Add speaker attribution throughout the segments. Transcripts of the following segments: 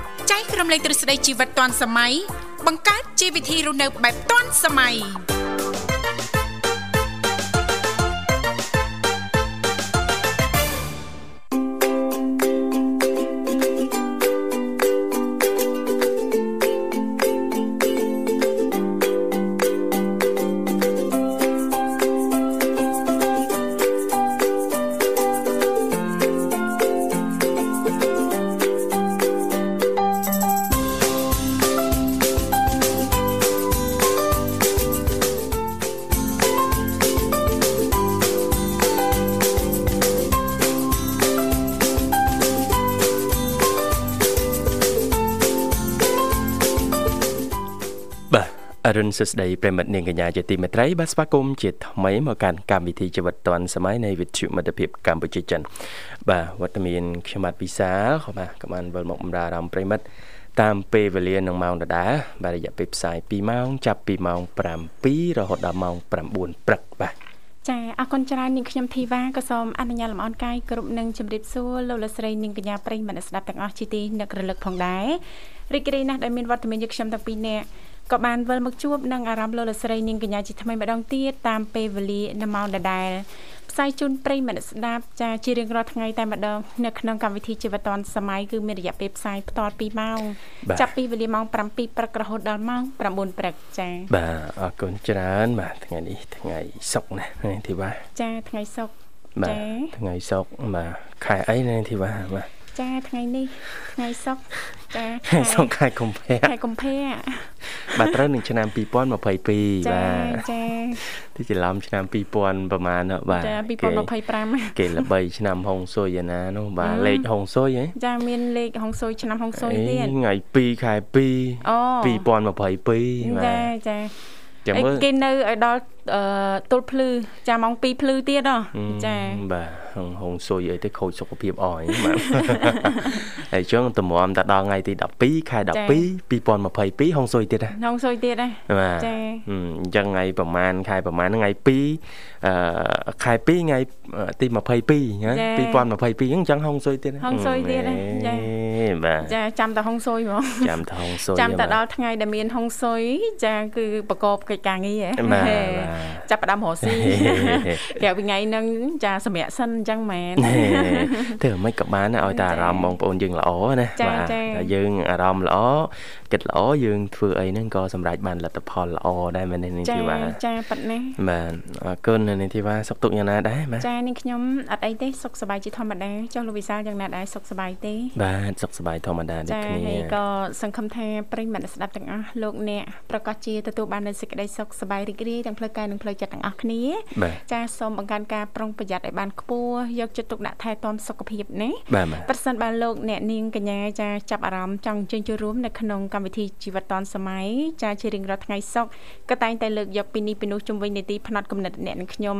Speaker 1: ំលែកទ្រឹស្ដីជីវិតទាន់សម័យបង្កើតជីវវិធីរស់នៅបែបទាន់សម័យ
Speaker 2: បាទអរុនសួស្ដីប្រិមិត្តនាងកញ្ញាជាទីមេត្រីបាទស្វាគមន៍ជាថ្មីមកកាន់កម្មវិធីជីវិតឌွန်សម័យនៃវិទ្យុមិត្តភាពកម្ពុជាចិនបាទវត្តមានខ្ញុំបាទពិសាលក៏បាទក៏បានវិលមកបំរើអារម្មណ៍ប្រិមិត្តតាមពេលវេលានឹងម៉ោងដដែលបាទរយៈពេលផ្សាយ2ម៉ោងចាប់ពីម៉ោង7រហូតដល់ម៉ោង9ព្រឹកបាទ
Speaker 3: ចាអរគុណច្រើននាងខ្ញុំធីវ៉ាក៏សូមអនុញ្ញាតលំអរកាយគ្រប់នឹងជម្រាបសួរលោកលោកស្រីនាងកញ្ញាប្រិយមិត្តអ្នកស្ដាប់ទាំងអស់ជាទីនឹករលឹកផងដែររីករាយណាស់ដែលមានវត្តមានយើងខ្ញុំទាំងពីរនាក់ក៏បានវិលមកជួបនឹងអារម្មណ៍លោកលោកស្រីនាងកញ្ញាជាថ្មីម្ដងទៀតតាមពេលវេលានៅម៉ោងដដែលផ្សាយជូនប្រិយមិត្តអ្នកស្ដាប់ចាជារៀងរាល់ថ្ងៃតែម្ដងនៅក្នុងកម្មវិធីជីវិតឌွန်សម័យគឺមានរយៈពេលផ្សាយផ្ទាល់2ម៉ោងចាប់ពីវេលាម៉ោង7ព្រឹករហូតដល់ម៉ោង9ព្រឹកចា
Speaker 2: បាទអរគុណច្រើនបាទថ្ងៃនេះថ្ងៃសុក្រណាស់នាងធីវ៉ា
Speaker 3: ចាថ្ងៃសុក្រ
Speaker 2: បាទ
Speaker 3: ចា៎
Speaker 2: ថ្ងៃសុក្របាទខែអីនាងធីវ៉ាបាទ
Speaker 3: ចាថ្ងៃនេះថ្ងៃសុក្រចា
Speaker 2: ខែសុក្រខែកុម្ភៈ
Speaker 3: ខែកុម្ភៈ
Speaker 2: បាទត្រូវនឹងឆ្នាំ2022បាទ
Speaker 3: ចាចា
Speaker 2: ទីច្រឡំឆ្នាំ2000ប្រហែលនោះបាទ
Speaker 3: ចា
Speaker 2: គេ
Speaker 3: 2025
Speaker 2: គេល្បីឆ្នាំហុងស៊ុយឯ ណានោះបាទលេខហុងស៊ុយហ៎
Speaker 3: ចាមានលេខហុងស៊ុយឆ្នាំហុងស៊ុយទៀត
Speaker 2: ថ្ងៃ2ខែ2
Speaker 3: អូ
Speaker 2: 2022បាទ
Speaker 3: ចាចា
Speaker 2: ចាំមើល
Speaker 3: គេនៅឲ្យដល់អឺទល់ភ្លឺចាម៉ោង2ភ្លឺទៀតហ៎ចា
Speaker 2: បាទហុងហុងស៊ុយអីទៅខូចសុខភាពអស់ហ៎ បាទ ហើយចឹងតម្រាំតែដល់ថ្ងៃទី12ខែ12 2022ហុងស៊ុយទៀតណា
Speaker 3: ហុងស៊ុយទៀតណា
Speaker 2: បាទ
Speaker 3: ចា៎
Speaker 2: ហឹមអញ្ចឹងថ្ងៃប្រហែលខែប្រហែលថ្ងៃ2អឺខែ2ថ្ងៃអឺទី22ណា2022អញ្ចឹងហុងស៊ុយទៀតណា
Speaker 3: ហុងស៊ុយទៀតណា
Speaker 2: ហ
Speaker 3: ចា
Speaker 2: េបាទ
Speaker 3: ចាចាំតែហុងស៊ុយហ្មង
Speaker 2: ចាំថងស៊ុយ
Speaker 3: ចាំតែ
Speaker 2: បាទ
Speaker 3: ដល់ថ្ងៃដែលមានហុងស៊ុយចាគឺប្រកបកិច្ចការងារហ៎
Speaker 2: បាទ បាទ
Speaker 3: ចាប់ផ្ដើមរស់ ស៊ី
Speaker 2: ហេ
Speaker 3: ក្រៅពីថ្ងៃហ្នឹងចាសម្រាប់សិនអញ្ចឹងមែន
Speaker 2: ហេធ្វើមិនក៏បានណាឲ្យតែអារម្មណ៍បងប្អូនយើងល្អណា
Speaker 3: ចា
Speaker 2: បាទ
Speaker 3: ចា
Speaker 2: តែយើងអារម្មណ៍ល្អគិតល្អយើងធ្វើអីហ្នឹងក៏សម្រេចបានលទ្ធផលល្អដែរមែនទេនាង
Speaker 3: ចា
Speaker 2: ធីវ៉ា
Speaker 3: ចាប៉ិតណាស់
Speaker 2: បាទអរគុណនាងធីវ៉ាសុខទុក្ខយ៉ាងណាដែរបាទ
Speaker 3: ចានាងខ្ញុំអត់អីទេសុខសប្បាយជាធម្មតាចុះលោកវិសាលយ៉ាងណាដែរសុខសប្បាយទេ
Speaker 2: បាទសុខសប្បាយធម្មតាដូច
Speaker 3: ចា
Speaker 2: គ្នា
Speaker 3: ហើយក៏សង្ឃឹមថាប្រិយមិត្តអ្នកស្ដាប់ទាំងអស់លោកអ្នកប្រកាសជាទទួលបាននូវសេចក្តីសុខសប្បាយរីករាយទាំងផ្លូវកាយនិងផ្លូវចិត្តទាំងអស់គ្នា
Speaker 2: បាទ
Speaker 3: ចាសូមបង្កើនការប្រុងប្រយ័ត្នឲ្យបានខ្ពស់យកចិត្តទុកដាក់ថែទាំសុខភាពណា
Speaker 2: បាទបាទ
Speaker 3: ប្រសិនបើលោកអ្នកនាងកញ្ញាចាចាប់អារម្មណ៍ចង់អញ្ជើញចូលរួមនៅក្នុងកម្មវិធីជីវិតឌွန်សម័យចាជារៀងរាល់ថ្ងៃសុខក៏តែងតែលើកយកពីនេះពីនោះជំវិញនីតិផ្នែកគំនិតអ្នកនិងខ្ញុំ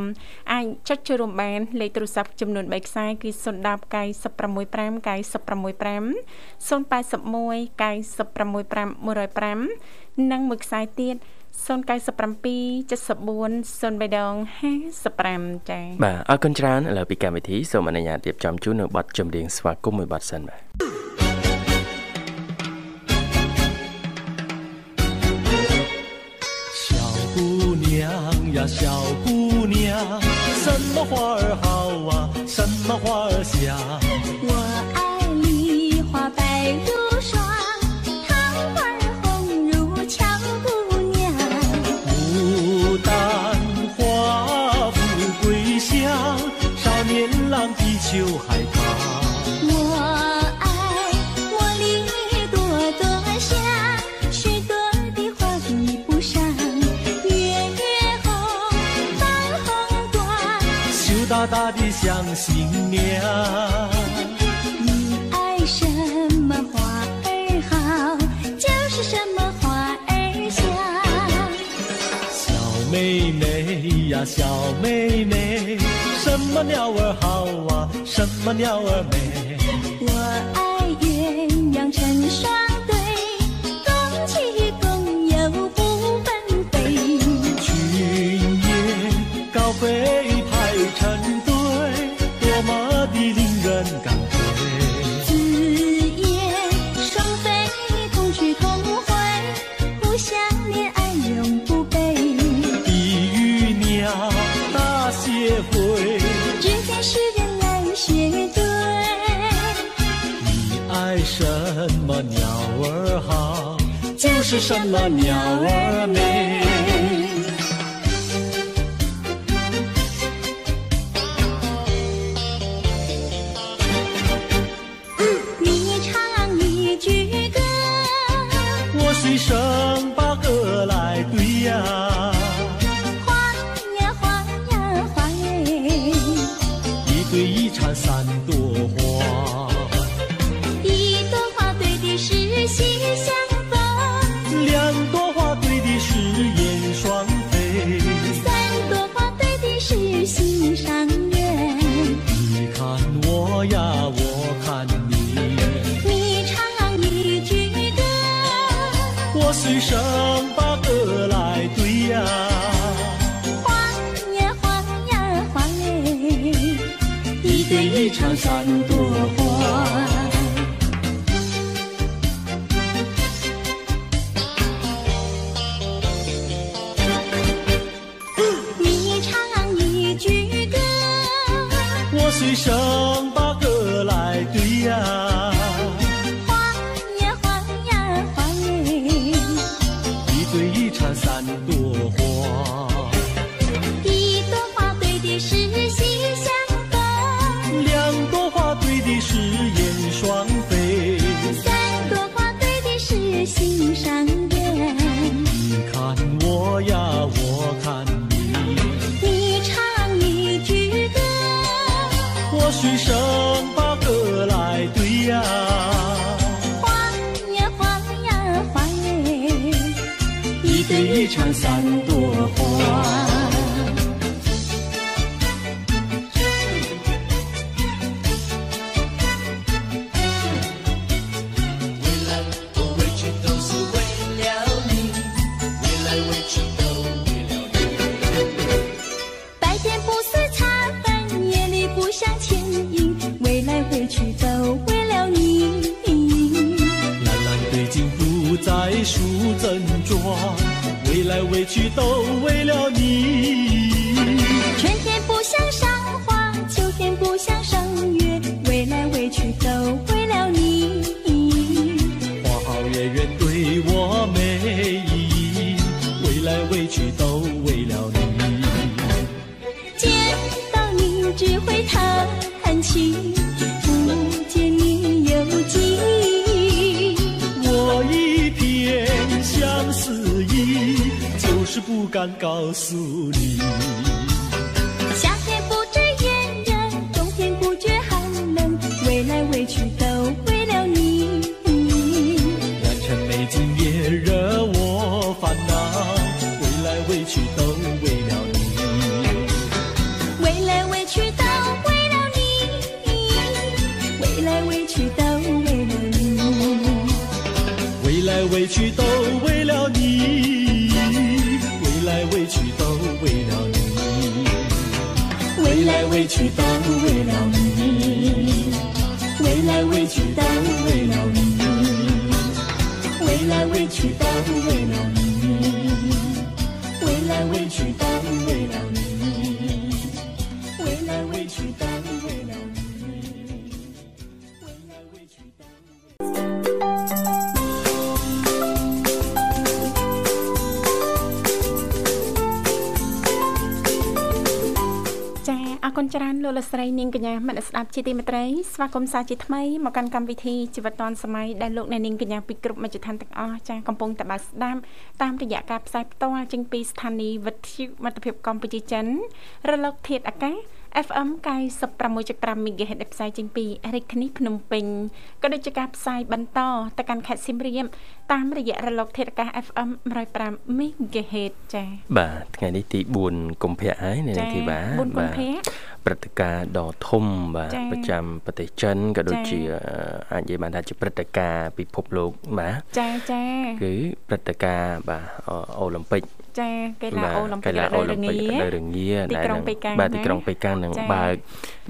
Speaker 3: អាចចុចចូលរួមបានលេខទូរស័ព្ទចំនួន3ខ្សែគឺ010 965 965 081965105និងមួយខ្សែទៀត0977403055ចា៎
Speaker 2: បាទអរគុណច្រើនឥឡូវពីកម្មវិធីសូមអនុញ្ញាតរៀបចំជូននៅប័ណ្ណចម្រៀងស្វាគមន៍មួយប័ណ្ណសិនបាទ
Speaker 4: 小姑娘呀，小姑娘，什么花儿好啊，什么花儿啊香？
Speaker 5: 我爱梨花白如霜，桃花红如俏姑娘。
Speaker 4: 牡丹花富贵香，少年郎的秋海棠。
Speaker 5: 我爱茉莉朵朵香，十朵的花比不上。月红，半红光，
Speaker 4: 羞答答的像新娘，
Speaker 5: 你爱什么花儿好，就是什么花儿香。
Speaker 4: 小妹妹呀，小妹妹，什么鸟儿好啊，什么鸟儿美。
Speaker 5: 我爱鸳鸯成双对，公鸡公又不分飞。
Speaker 4: 群雁高飞排成队，多么的令人感慨。
Speaker 5: 子夜双飞同学对。
Speaker 4: 你爱什么鸟儿好，就是什么鸟儿美。
Speaker 5: 嗯你唱一句歌，
Speaker 4: 我随身把歌来对呀、
Speaker 5: 换呀换呀换哎，
Speaker 4: 一对一缠三朵花，
Speaker 5: 一朵花对的是喜相逢，
Speaker 4: 两朵花对的是燕双飞。
Speaker 5: 三朵花对的是心上人。
Speaker 4: 你看我呀，我看你，
Speaker 5: 你唱啊一句歌，
Speaker 4: 我随身把歌来对呀、
Speaker 5: 换呀换呀换哎。
Speaker 4: 一对一缠三朵花。
Speaker 5: 你唱一句歌，
Speaker 4: 我随身把歌来对呀、
Speaker 5: 换呀换呀换哎，
Speaker 4: 一对一缠三朵花。
Speaker 5: 一朵花对的是喜相逢，
Speaker 4: 两朵花对的是燕双飞。
Speaker 5: 三朵花对的是心上人。
Speaker 4: 你看我呀，我看你，
Speaker 5: 你唱一句歌，
Speaker 4: 我随身把歌来对呀、
Speaker 5: 换呀换呀换哎。
Speaker 4: 一对一缠三朵花。
Speaker 5: 白天不思茶饭，夜里不想牵引，未来回去都为了你。
Speaker 4: 蓝蓝的金不再梳正装，为来为去都为了你。
Speaker 5: 春天不想赏花，秋天不想赏月，为来为去都为了你。
Speaker 4: 花好月圆对我没意义，为来为去都为了你。
Speaker 5: 见到你只会叹气，不见你又记。
Speaker 4: 我一片相思意，就是不敢告诉你。
Speaker 5: 夏天不知炎热，冬天不觉寒冷，为来为去都为了你。
Speaker 4: 良辰美景也惹我烦恼，为来为去都为了你。
Speaker 5: 为来为去都为了你，为来为去都为了你，
Speaker 4: 为来为去都为了你，为来为去都为了你，
Speaker 5: 为来为去都为了你，为来为去都为了你，为来为去都为了你，为来为去都为了你，为来为去都为了你，为来为去都。
Speaker 3: ចាអរគុណច្រើនលោកលកស្រីនាងកញ្ញាមនស្សស្ដាប់ជាទីមេត្រីស្វាគមន៍សាជាថ្មីមកកាន់កម្មវិធីជីវិតឌွန်សម័យដែលលោកអ្នកនាងកញ្ញាពីគ្រប់មជ្ឈដ្ឋានទាំងអស់ចាកំពុងតបស្ដាប់តាមរយៈការផ្សាយផ្ទាល់ចេញពីស្ថានីយ៍វិទ្យុមិត្តភាពកម្ពុជាចិនរលកធាតុអាកាស FM 96.5 MHz ដែលផ្សាយចេញពីរាជធានីភ្នំពេញក៏ដូចជាការផ្សាយបន្តទៅកាន់ខេត្តសៀមរាបតាមរយៈរលកធាតុអាកាស FM 105 MHz ចា
Speaker 2: បាទថ្ងៃនេះទី4កុម្ភៈហើយនៅ
Speaker 3: ចា៎
Speaker 2: ធីវ៉ា
Speaker 3: 4កុម្ភៈ
Speaker 2: ព្រឹត្តិការណ៍ដ៏ធំបាទ
Speaker 3: ចា៎
Speaker 2: ប្រចាំប្រទេសចិនក៏ដូច
Speaker 3: ចា៎
Speaker 2: ជាអឺអាចនិយាយបានថាជាព្រឹត្តិការណ៍ពិភពលោកបាទ
Speaker 3: ចាចា
Speaker 2: គឺព្រឹត្តិការណ៍បាទអូអូឡ িম ពិក
Speaker 3: ចាកីឡា
Speaker 2: បាទ
Speaker 3: អូឡ িম্প
Speaker 2: កីឡាអូឡ িম্প
Speaker 3: ពិ
Speaker 2: ពិក
Speaker 3: ករ
Speaker 2: នៅ
Speaker 3: ងា
Speaker 2: រងា
Speaker 3: ទីក្រុ
Speaker 2: នឹ
Speaker 3: ង
Speaker 2: ង
Speaker 3: ប៉េកាំង
Speaker 2: បាទ
Speaker 3: ណា
Speaker 2: ទីក្រុងប៉េកាំងនឹង
Speaker 3: ចា៎
Speaker 2: បើក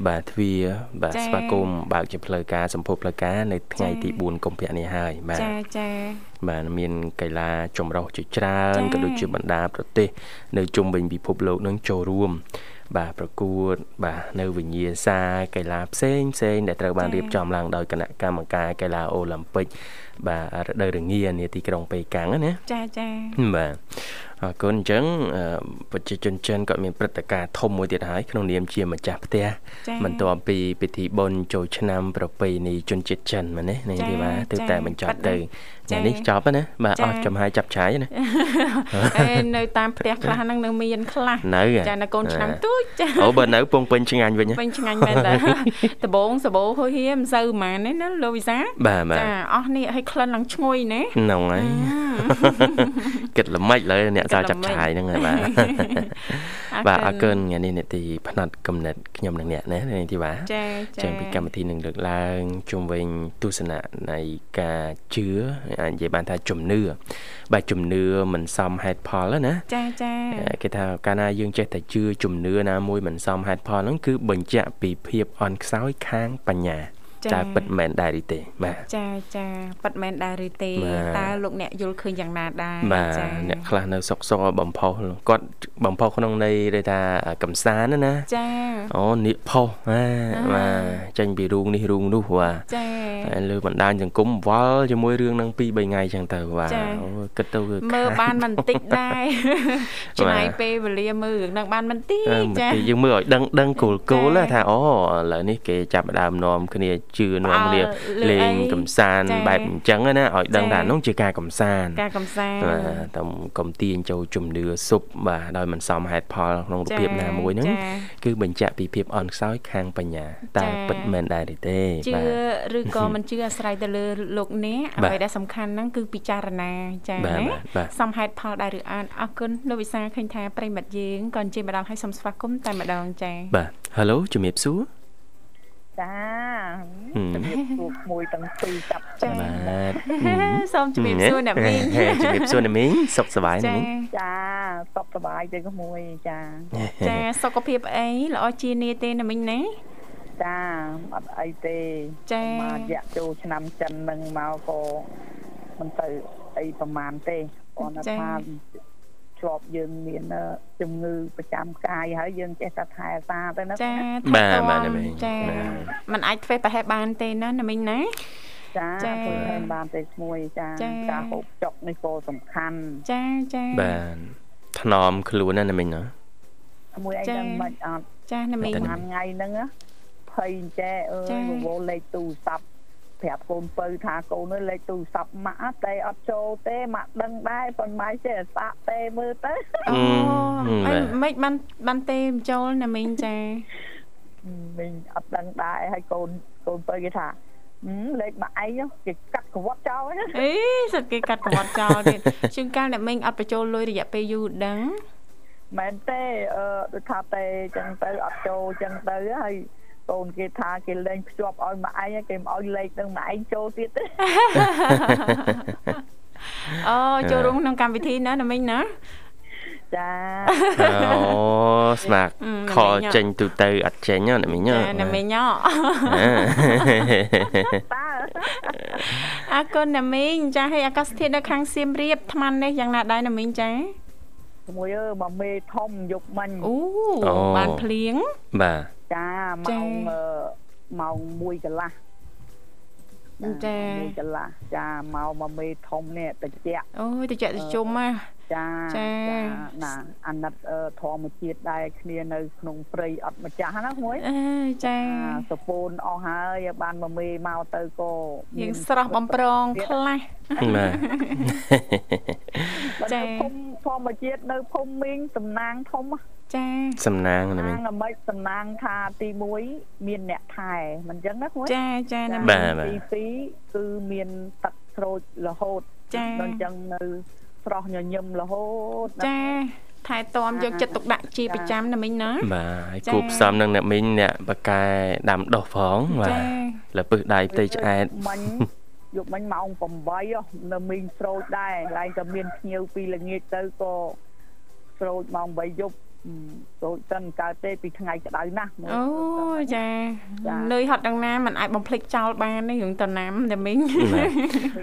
Speaker 2: បាទទ្វារបាទ
Speaker 3: ចា៎
Speaker 2: ស្វាគមន៍បើកជាផ្លូវការសម្ពោធផ្លូវការនៅថ្ងៃ
Speaker 3: ចា៎
Speaker 2: ទី4កុម្ភៈនេះហើយបាទ
Speaker 3: ចាចា
Speaker 2: បាទមានកីឡាចម្រុះជាច្រើន
Speaker 3: ចា៎
Speaker 2: ក៏ដូចជាបណ្ដាប្រទេស នៅជុំវិញពិភពលោកនឹងចូលរួម បាទប្រកួត បាទនៅវិញ្ញាសាកីឡាផ្សេងផ្សេងដែលត្រូវបាន
Speaker 3: ចា៎
Speaker 2: រៀបចំឡើងដោយគណៈកម្មការកីឡាអូឡ িম্প ិកបាទរដូវរងានាទីក្រុងប៉េកាំងហ្នឹងណា
Speaker 3: ចា ចា
Speaker 2: បាទអរគុណអញ្ចឹងអឺប្រជាជនចិនក៏មានព្រឹត្តិការណ៍ធំមួយទៀតហើយក្នុងនាមជាម្ចាស់ផ្ទះ
Speaker 3: ចា
Speaker 2: បន្ទាប់ពីពិធីបុណ្យចូលឆ្នាំប្រពៃណីជនជាតិចិនមែនទេនាង
Speaker 3: ចា
Speaker 2: ធីវ៉ាទើប
Speaker 3: ចា
Speaker 2: តែបញ្ចប់ទៅ
Speaker 3: ចា
Speaker 2: ថ្ងៃនេះចប់ហើយណាបាទ
Speaker 3: ចា
Speaker 2: អស់ចំហាយចាប់ឆាយហើយណា
Speaker 3: អេនៅតាមផ្ទះខ្លះហ្នឹងនៅមានខ្លះ
Speaker 2: នៅហ៎
Speaker 3: ចានៅកូនឆ្នាំ
Speaker 2: អ่า
Speaker 3: ទូចចា
Speaker 2: អូបើនៅពងពេញឆ្ងាញ់វិញណា
Speaker 3: ពេញឆ្ងាញ់មែនតើ ដបងសបោហួយហៀមសូវហ្មងនេះណាលោកវិសា
Speaker 2: បាទបាទ
Speaker 3: ចាអស់នេះឲ្យក្លិនឡើងឈ្ងុយណា
Speaker 2: ហ្នឹងហើយគិតល្មិចឡើយអ្នក
Speaker 3: គិ
Speaker 2: សា
Speaker 3: តល្មិច
Speaker 2: ចាប់ឆាយហ្នឹងហើយបាទបាទអរគុណថ្ងៃនេះនេតិផ្នែកកំណត់ខ្ញុំនិងអ្នកណានាងធីវ៉ា
Speaker 3: ចាចា
Speaker 2: ចឹងពីកម្មវិធីនឹងលើកឡើងជុំវិញទស្សនៈនៃការជឿអាចនិយាយបានថាជំនឿបាទជំនឿមិនសមហេតុផលហ្នឹងណា
Speaker 3: ចាចា
Speaker 2: គេថាកាលណាយើងចេះតែជឿជំនឿណាមួយមិនសមហេតុផលហ្នឹងគឺបញ្ជាក់ពីភាពអន់ខ្សោយខាងបញ្ញាតើពិតមែនដែរឬទេបាទ
Speaker 3: ចាចាប៉ាត់មែនដែរឬទេ
Speaker 2: បាទ
Speaker 3: តើលោកអ្នកយល់ឃើញយ៉ាងណាដែរ
Speaker 2: បាទអ្នកខ្លះនៅសុកសល់បំផុសគាត់បំផុសក្នុងន័យដែលថាកំសាន្តហ្នឹងណា
Speaker 3: ចា
Speaker 2: អូនៀកផុសណាបាទចេញពីរូងនេះរូងនោះបាទ
Speaker 3: ចា
Speaker 2: ហើយលើបណ្ដាញសង្គមវល់ជាមួយរឿងហ្នឹង2 3ថ្ងៃចឹងទៅបាទ
Speaker 3: ចា៎
Speaker 2: អូយគិតទៅវា
Speaker 3: មើល
Speaker 2: ខា
Speaker 3: បាន នមិនតិចដែ
Speaker 2: បា
Speaker 3: រ
Speaker 2: ទ
Speaker 3: ចំណាយពេលវេលាមើលរឿងហ្នឹងបានមិនតិ
Speaker 2: អឺ
Speaker 3: ច
Speaker 2: មក
Speaker 3: ចា
Speaker 2: ទីយើងមើលឲ្យដឹងដឹងគោលគោល
Speaker 3: ចា៎
Speaker 2: ណាថាអូឥឡូវនេះគេចាប់ផ្ដើមនាំគ្នាជឿនាំគ្នា
Speaker 3: ផ្អើលលើ
Speaker 2: លេង
Speaker 3: អី
Speaker 2: កំសាន្ត
Speaker 3: ចា៎
Speaker 2: បែបអញ្ចឹងណាឲ្យដឹង
Speaker 3: ចា៎
Speaker 2: ថាហ្នឹងជាការកំសាន្ត
Speaker 3: ការកំសាន្ត
Speaker 2: បាទតែកុំទាញចូលជំនឿសុបបាទដោយមិនសមហេតុផលក្នុងរូប
Speaker 3: ចា
Speaker 2: ភាពណាមួយហ្នឹង
Speaker 3: ចា
Speaker 2: គឺបញ្ជាក់ពីភាពអន់ខ្សោយខាងបញ្ញាតើ
Speaker 3: ចា៎
Speaker 2: ពិតមែនដែរឬទេ
Speaker 3: ជឿ
Speaker 2: បាទ
Speaker 3: ឬក៏មិនជឿអាស្រ័យទៅលើលោកអ្នក
Speaker 2: បាទ
Speaker 3: អ្វីដែលសំខាន់ហ្នឹងគឺពិចារណាចា
Speaker 2: បាទ
Speaker 3: ណា
Speaker 2: បាទបាទ
Speaker 3: សំហេតុផលដែរឬអត់អរគុណលោកវិសាលឃើញថាប្រិមិត្តយើងក៏អញ្ជើញម្ដងឲ្យសូមស្វាគមន៍តែម្ដងចា
Speaker 2: បាទ Halo ជំរាបសួរ
Speaker 6: ចា
Speaker 2: ហ៊ឹម
Speaker 6: ជំរាបសួរមួយទាំងពីរចាប់
Speaker 3: ចា
Speaker 2: បាទ
Speaker 3: សូមជម្រាបសួរអ្នកមីង
Speaker 2: ហេជំរាបសួរអ្នកមីងសុខសប្បាយណា
Speaker 3: ចា
Speaker 2: មីង
Speaker 6: ចាសុខសប្បាយទេក្មួយចា
Speaker 3: ចាសុខភាពអីល្អជានីទេណាមីងណា
Speaker 6: ចាអត់អីទេ
Speaker 3: ចា
Speaker 6: មករយៈចូលឆ្នាំចិននឹងមកក៏មិនទៅអីប្រមាណទេគាត់ណ
Speaker 3: ចា
Speaker 6: ថាជាប់យើងមានអឺជំងឺប្រចាំកាយហើយយើងចេះតែថែរក្សាទៅណា
Speaker 3: ចា
Speaker 2: បាទ
Speaker 3: ថែទាំ
Speaker 2: បាទអ្នកមីង
Speaker 3: ចាมันអាចធ្វើប្រហែលបានទេណាណាមីងណា
Speaker 6: ចា
Speaker 3: ចា
Speaker 6: ធ្វើថែមបានទេក្មួយចា
Speaker 3: ចា
Speaker 6: ការហូបចុកនេះក៏សំខាន់
Speaker 3: ចាចា
Speaker 2: បាទថ្នមខ្លួនណាអ្នកមីងណា
Speaker 6: ក្មួយអី
Speaker 3: ចា
Speaker 6: ដឹងមិនអត់
Speaker 3: ចាណាមីង
Speaker 2: តែ
Speaker 6: បានថ្ងៃហ្នឹងណាភ័យអញ្ចេះអើយ
Speaker 3: ចា៎
Speaker 6: រវល់លេខទូរស័ព្ទប្រាប់កូនពៅថាកូននោះលេខទូរស័ព្ទម៉ាក់តែអត់ចូលទេម៉ាក់ដឹងដែរប៉ុន្មានចេះសាក់ទេមើល ទៅ
Speaker 2: អឺ
Speaker 3: អូ
Speaker 2: បាទ
Speaker 3: អីមិនបានបានទេមិនចូលណាមីងចា
Speaker 6: វិញអត់ដឹងដែរហើយកូនកូនពៅគេថាហឹមលេខម៉ាក់ឯងនោះគេកាត់ក្រវ៉ាត់ចោលហ្នឹង
Speaker 3: អេសិតគេកាត់ប្រវត្តិចោល ទៀតជួនកាលអ្នកមីងអត់បញ្ចូលលុយរយៈពេលយូរដឹង
Speaker 6: មែនទេអឺដូចថាទេអញ្ចឹងទៅអត់ចូលអញ្ចឹងទៅហើយកូនគេថាគេលេងភ្ជាប់ឲ្យម៉ាក់ឯងហើយគេមិនឲ្យលេខនឹងម៉ាក់ឯងចូលទៀត ទេ
Speaker 3: អូចូលរួមក្នុងកម្មវិធីណាណាមីងណា
Speaker 6: ចា
Speaker 2: អូស្មាក់
Speaker 3: អឺ
Speaker 2: ខល
Speaker 3: អ្នកមីង
Speaker 2: ចេញទូទៅអត់ចេញណាអ្នកមីងណា
Speaker 3: ចាណា មីងអ
Speaker 2: អឺ
Speaker 6: តើ
Speaker 3: អរគុណណាមីងចាហើយអាកាសធាតុនៅខាងសៀមរាបថ្មនេះយ៉ាងណាដែរណាមីងចា
Speaker 6: មួយអើមកមេធំយកមិញ
Speaker 3: អូបានភ្លៀង
Speaker 2: បាទ
Speaker 6: ចា
Speaker 3: ចា៎
Speaker 6: ម៉ោងអឺម៉ោង1កន្លះ
Speaker 3: ចា៎
Speaker 6: 1កន្លះចាមកមកមេធំនេះតិច
Speaker 3: អូយតិចតិចជុំហ่ะ
Speaker 6: ចា
Speaker 3: ចា៎
Speaker 6: ណាអាណិតអឺធម្មជាតិដែរគ្នានៅក្នុងព្រៃអត់ម្ចាស់ណាមួយ
Speaker 3: អើយចា
Speaker 6: អាសពូនអស់ហើយបានមកមេមកទៅក៏
Speaker 3: យើងស្រស់បំប្រងខ្លះ
Speaker 2: បាទ
Speaker 6: បើ
Speaker 3: ចា៎
Speaker 6: នៅភូមិធម្មជាតិនៅភូមិមីងតំណាងធំណា
Speaker 3: ចា
Speaker 2: សំណាងណាមី
Speaker 6: អា
Speaker 2: ង
Speaker 6: ងអាមេចតំណាងថាទី1មានអ្នកថែមិនចឹងណាមួយ
Speaker 3: ចាចាណា
Speaker 2: បា
Speaker 3: មីង
Speaker 2: ទ
Speaker 6: ទី2គឺមានទឹកស្រូចរហូត
Speaker 3: ចា៎
Speaker 6: ដល់អញ្ចឹងនៅស្រស់ញញឹមរហូតណា
Speaker 3: ចាថែទាំយកចិត្តទុកដាក់ជា
Speaker 6: ចា
Speaker 3: ប្រចាំណាមីងណា
Speaker 2: បាទហើយ
Speaker 3: ចា៎
Speaker 2: គូផ្សំនឹងអ្នកមីងអ្នកបកកែដាំដុះផងបាទ
Speaker 3: ចា
Speaker 2: លពឹសដៃផ្ទៃឆ្អែត
Speaker 6: មិញយកមិញម៉ោង8ហ៎នៅមីងស្រូចដែរឡើងតែមានភ្ញៀវពីល្ងាចទៅក៏ស្រូចម៉ោង8យប់ ចូលចិនកើតទេពីថ្ងៃក្តៅណាស់មើល
Speaker 3: អូចា
Speaker 6: ចា
Speaker 3: លុយហត់ទាំងណាមិនអាចបំភ្លេចចោលបានទេរឿងតំណាំតែមីង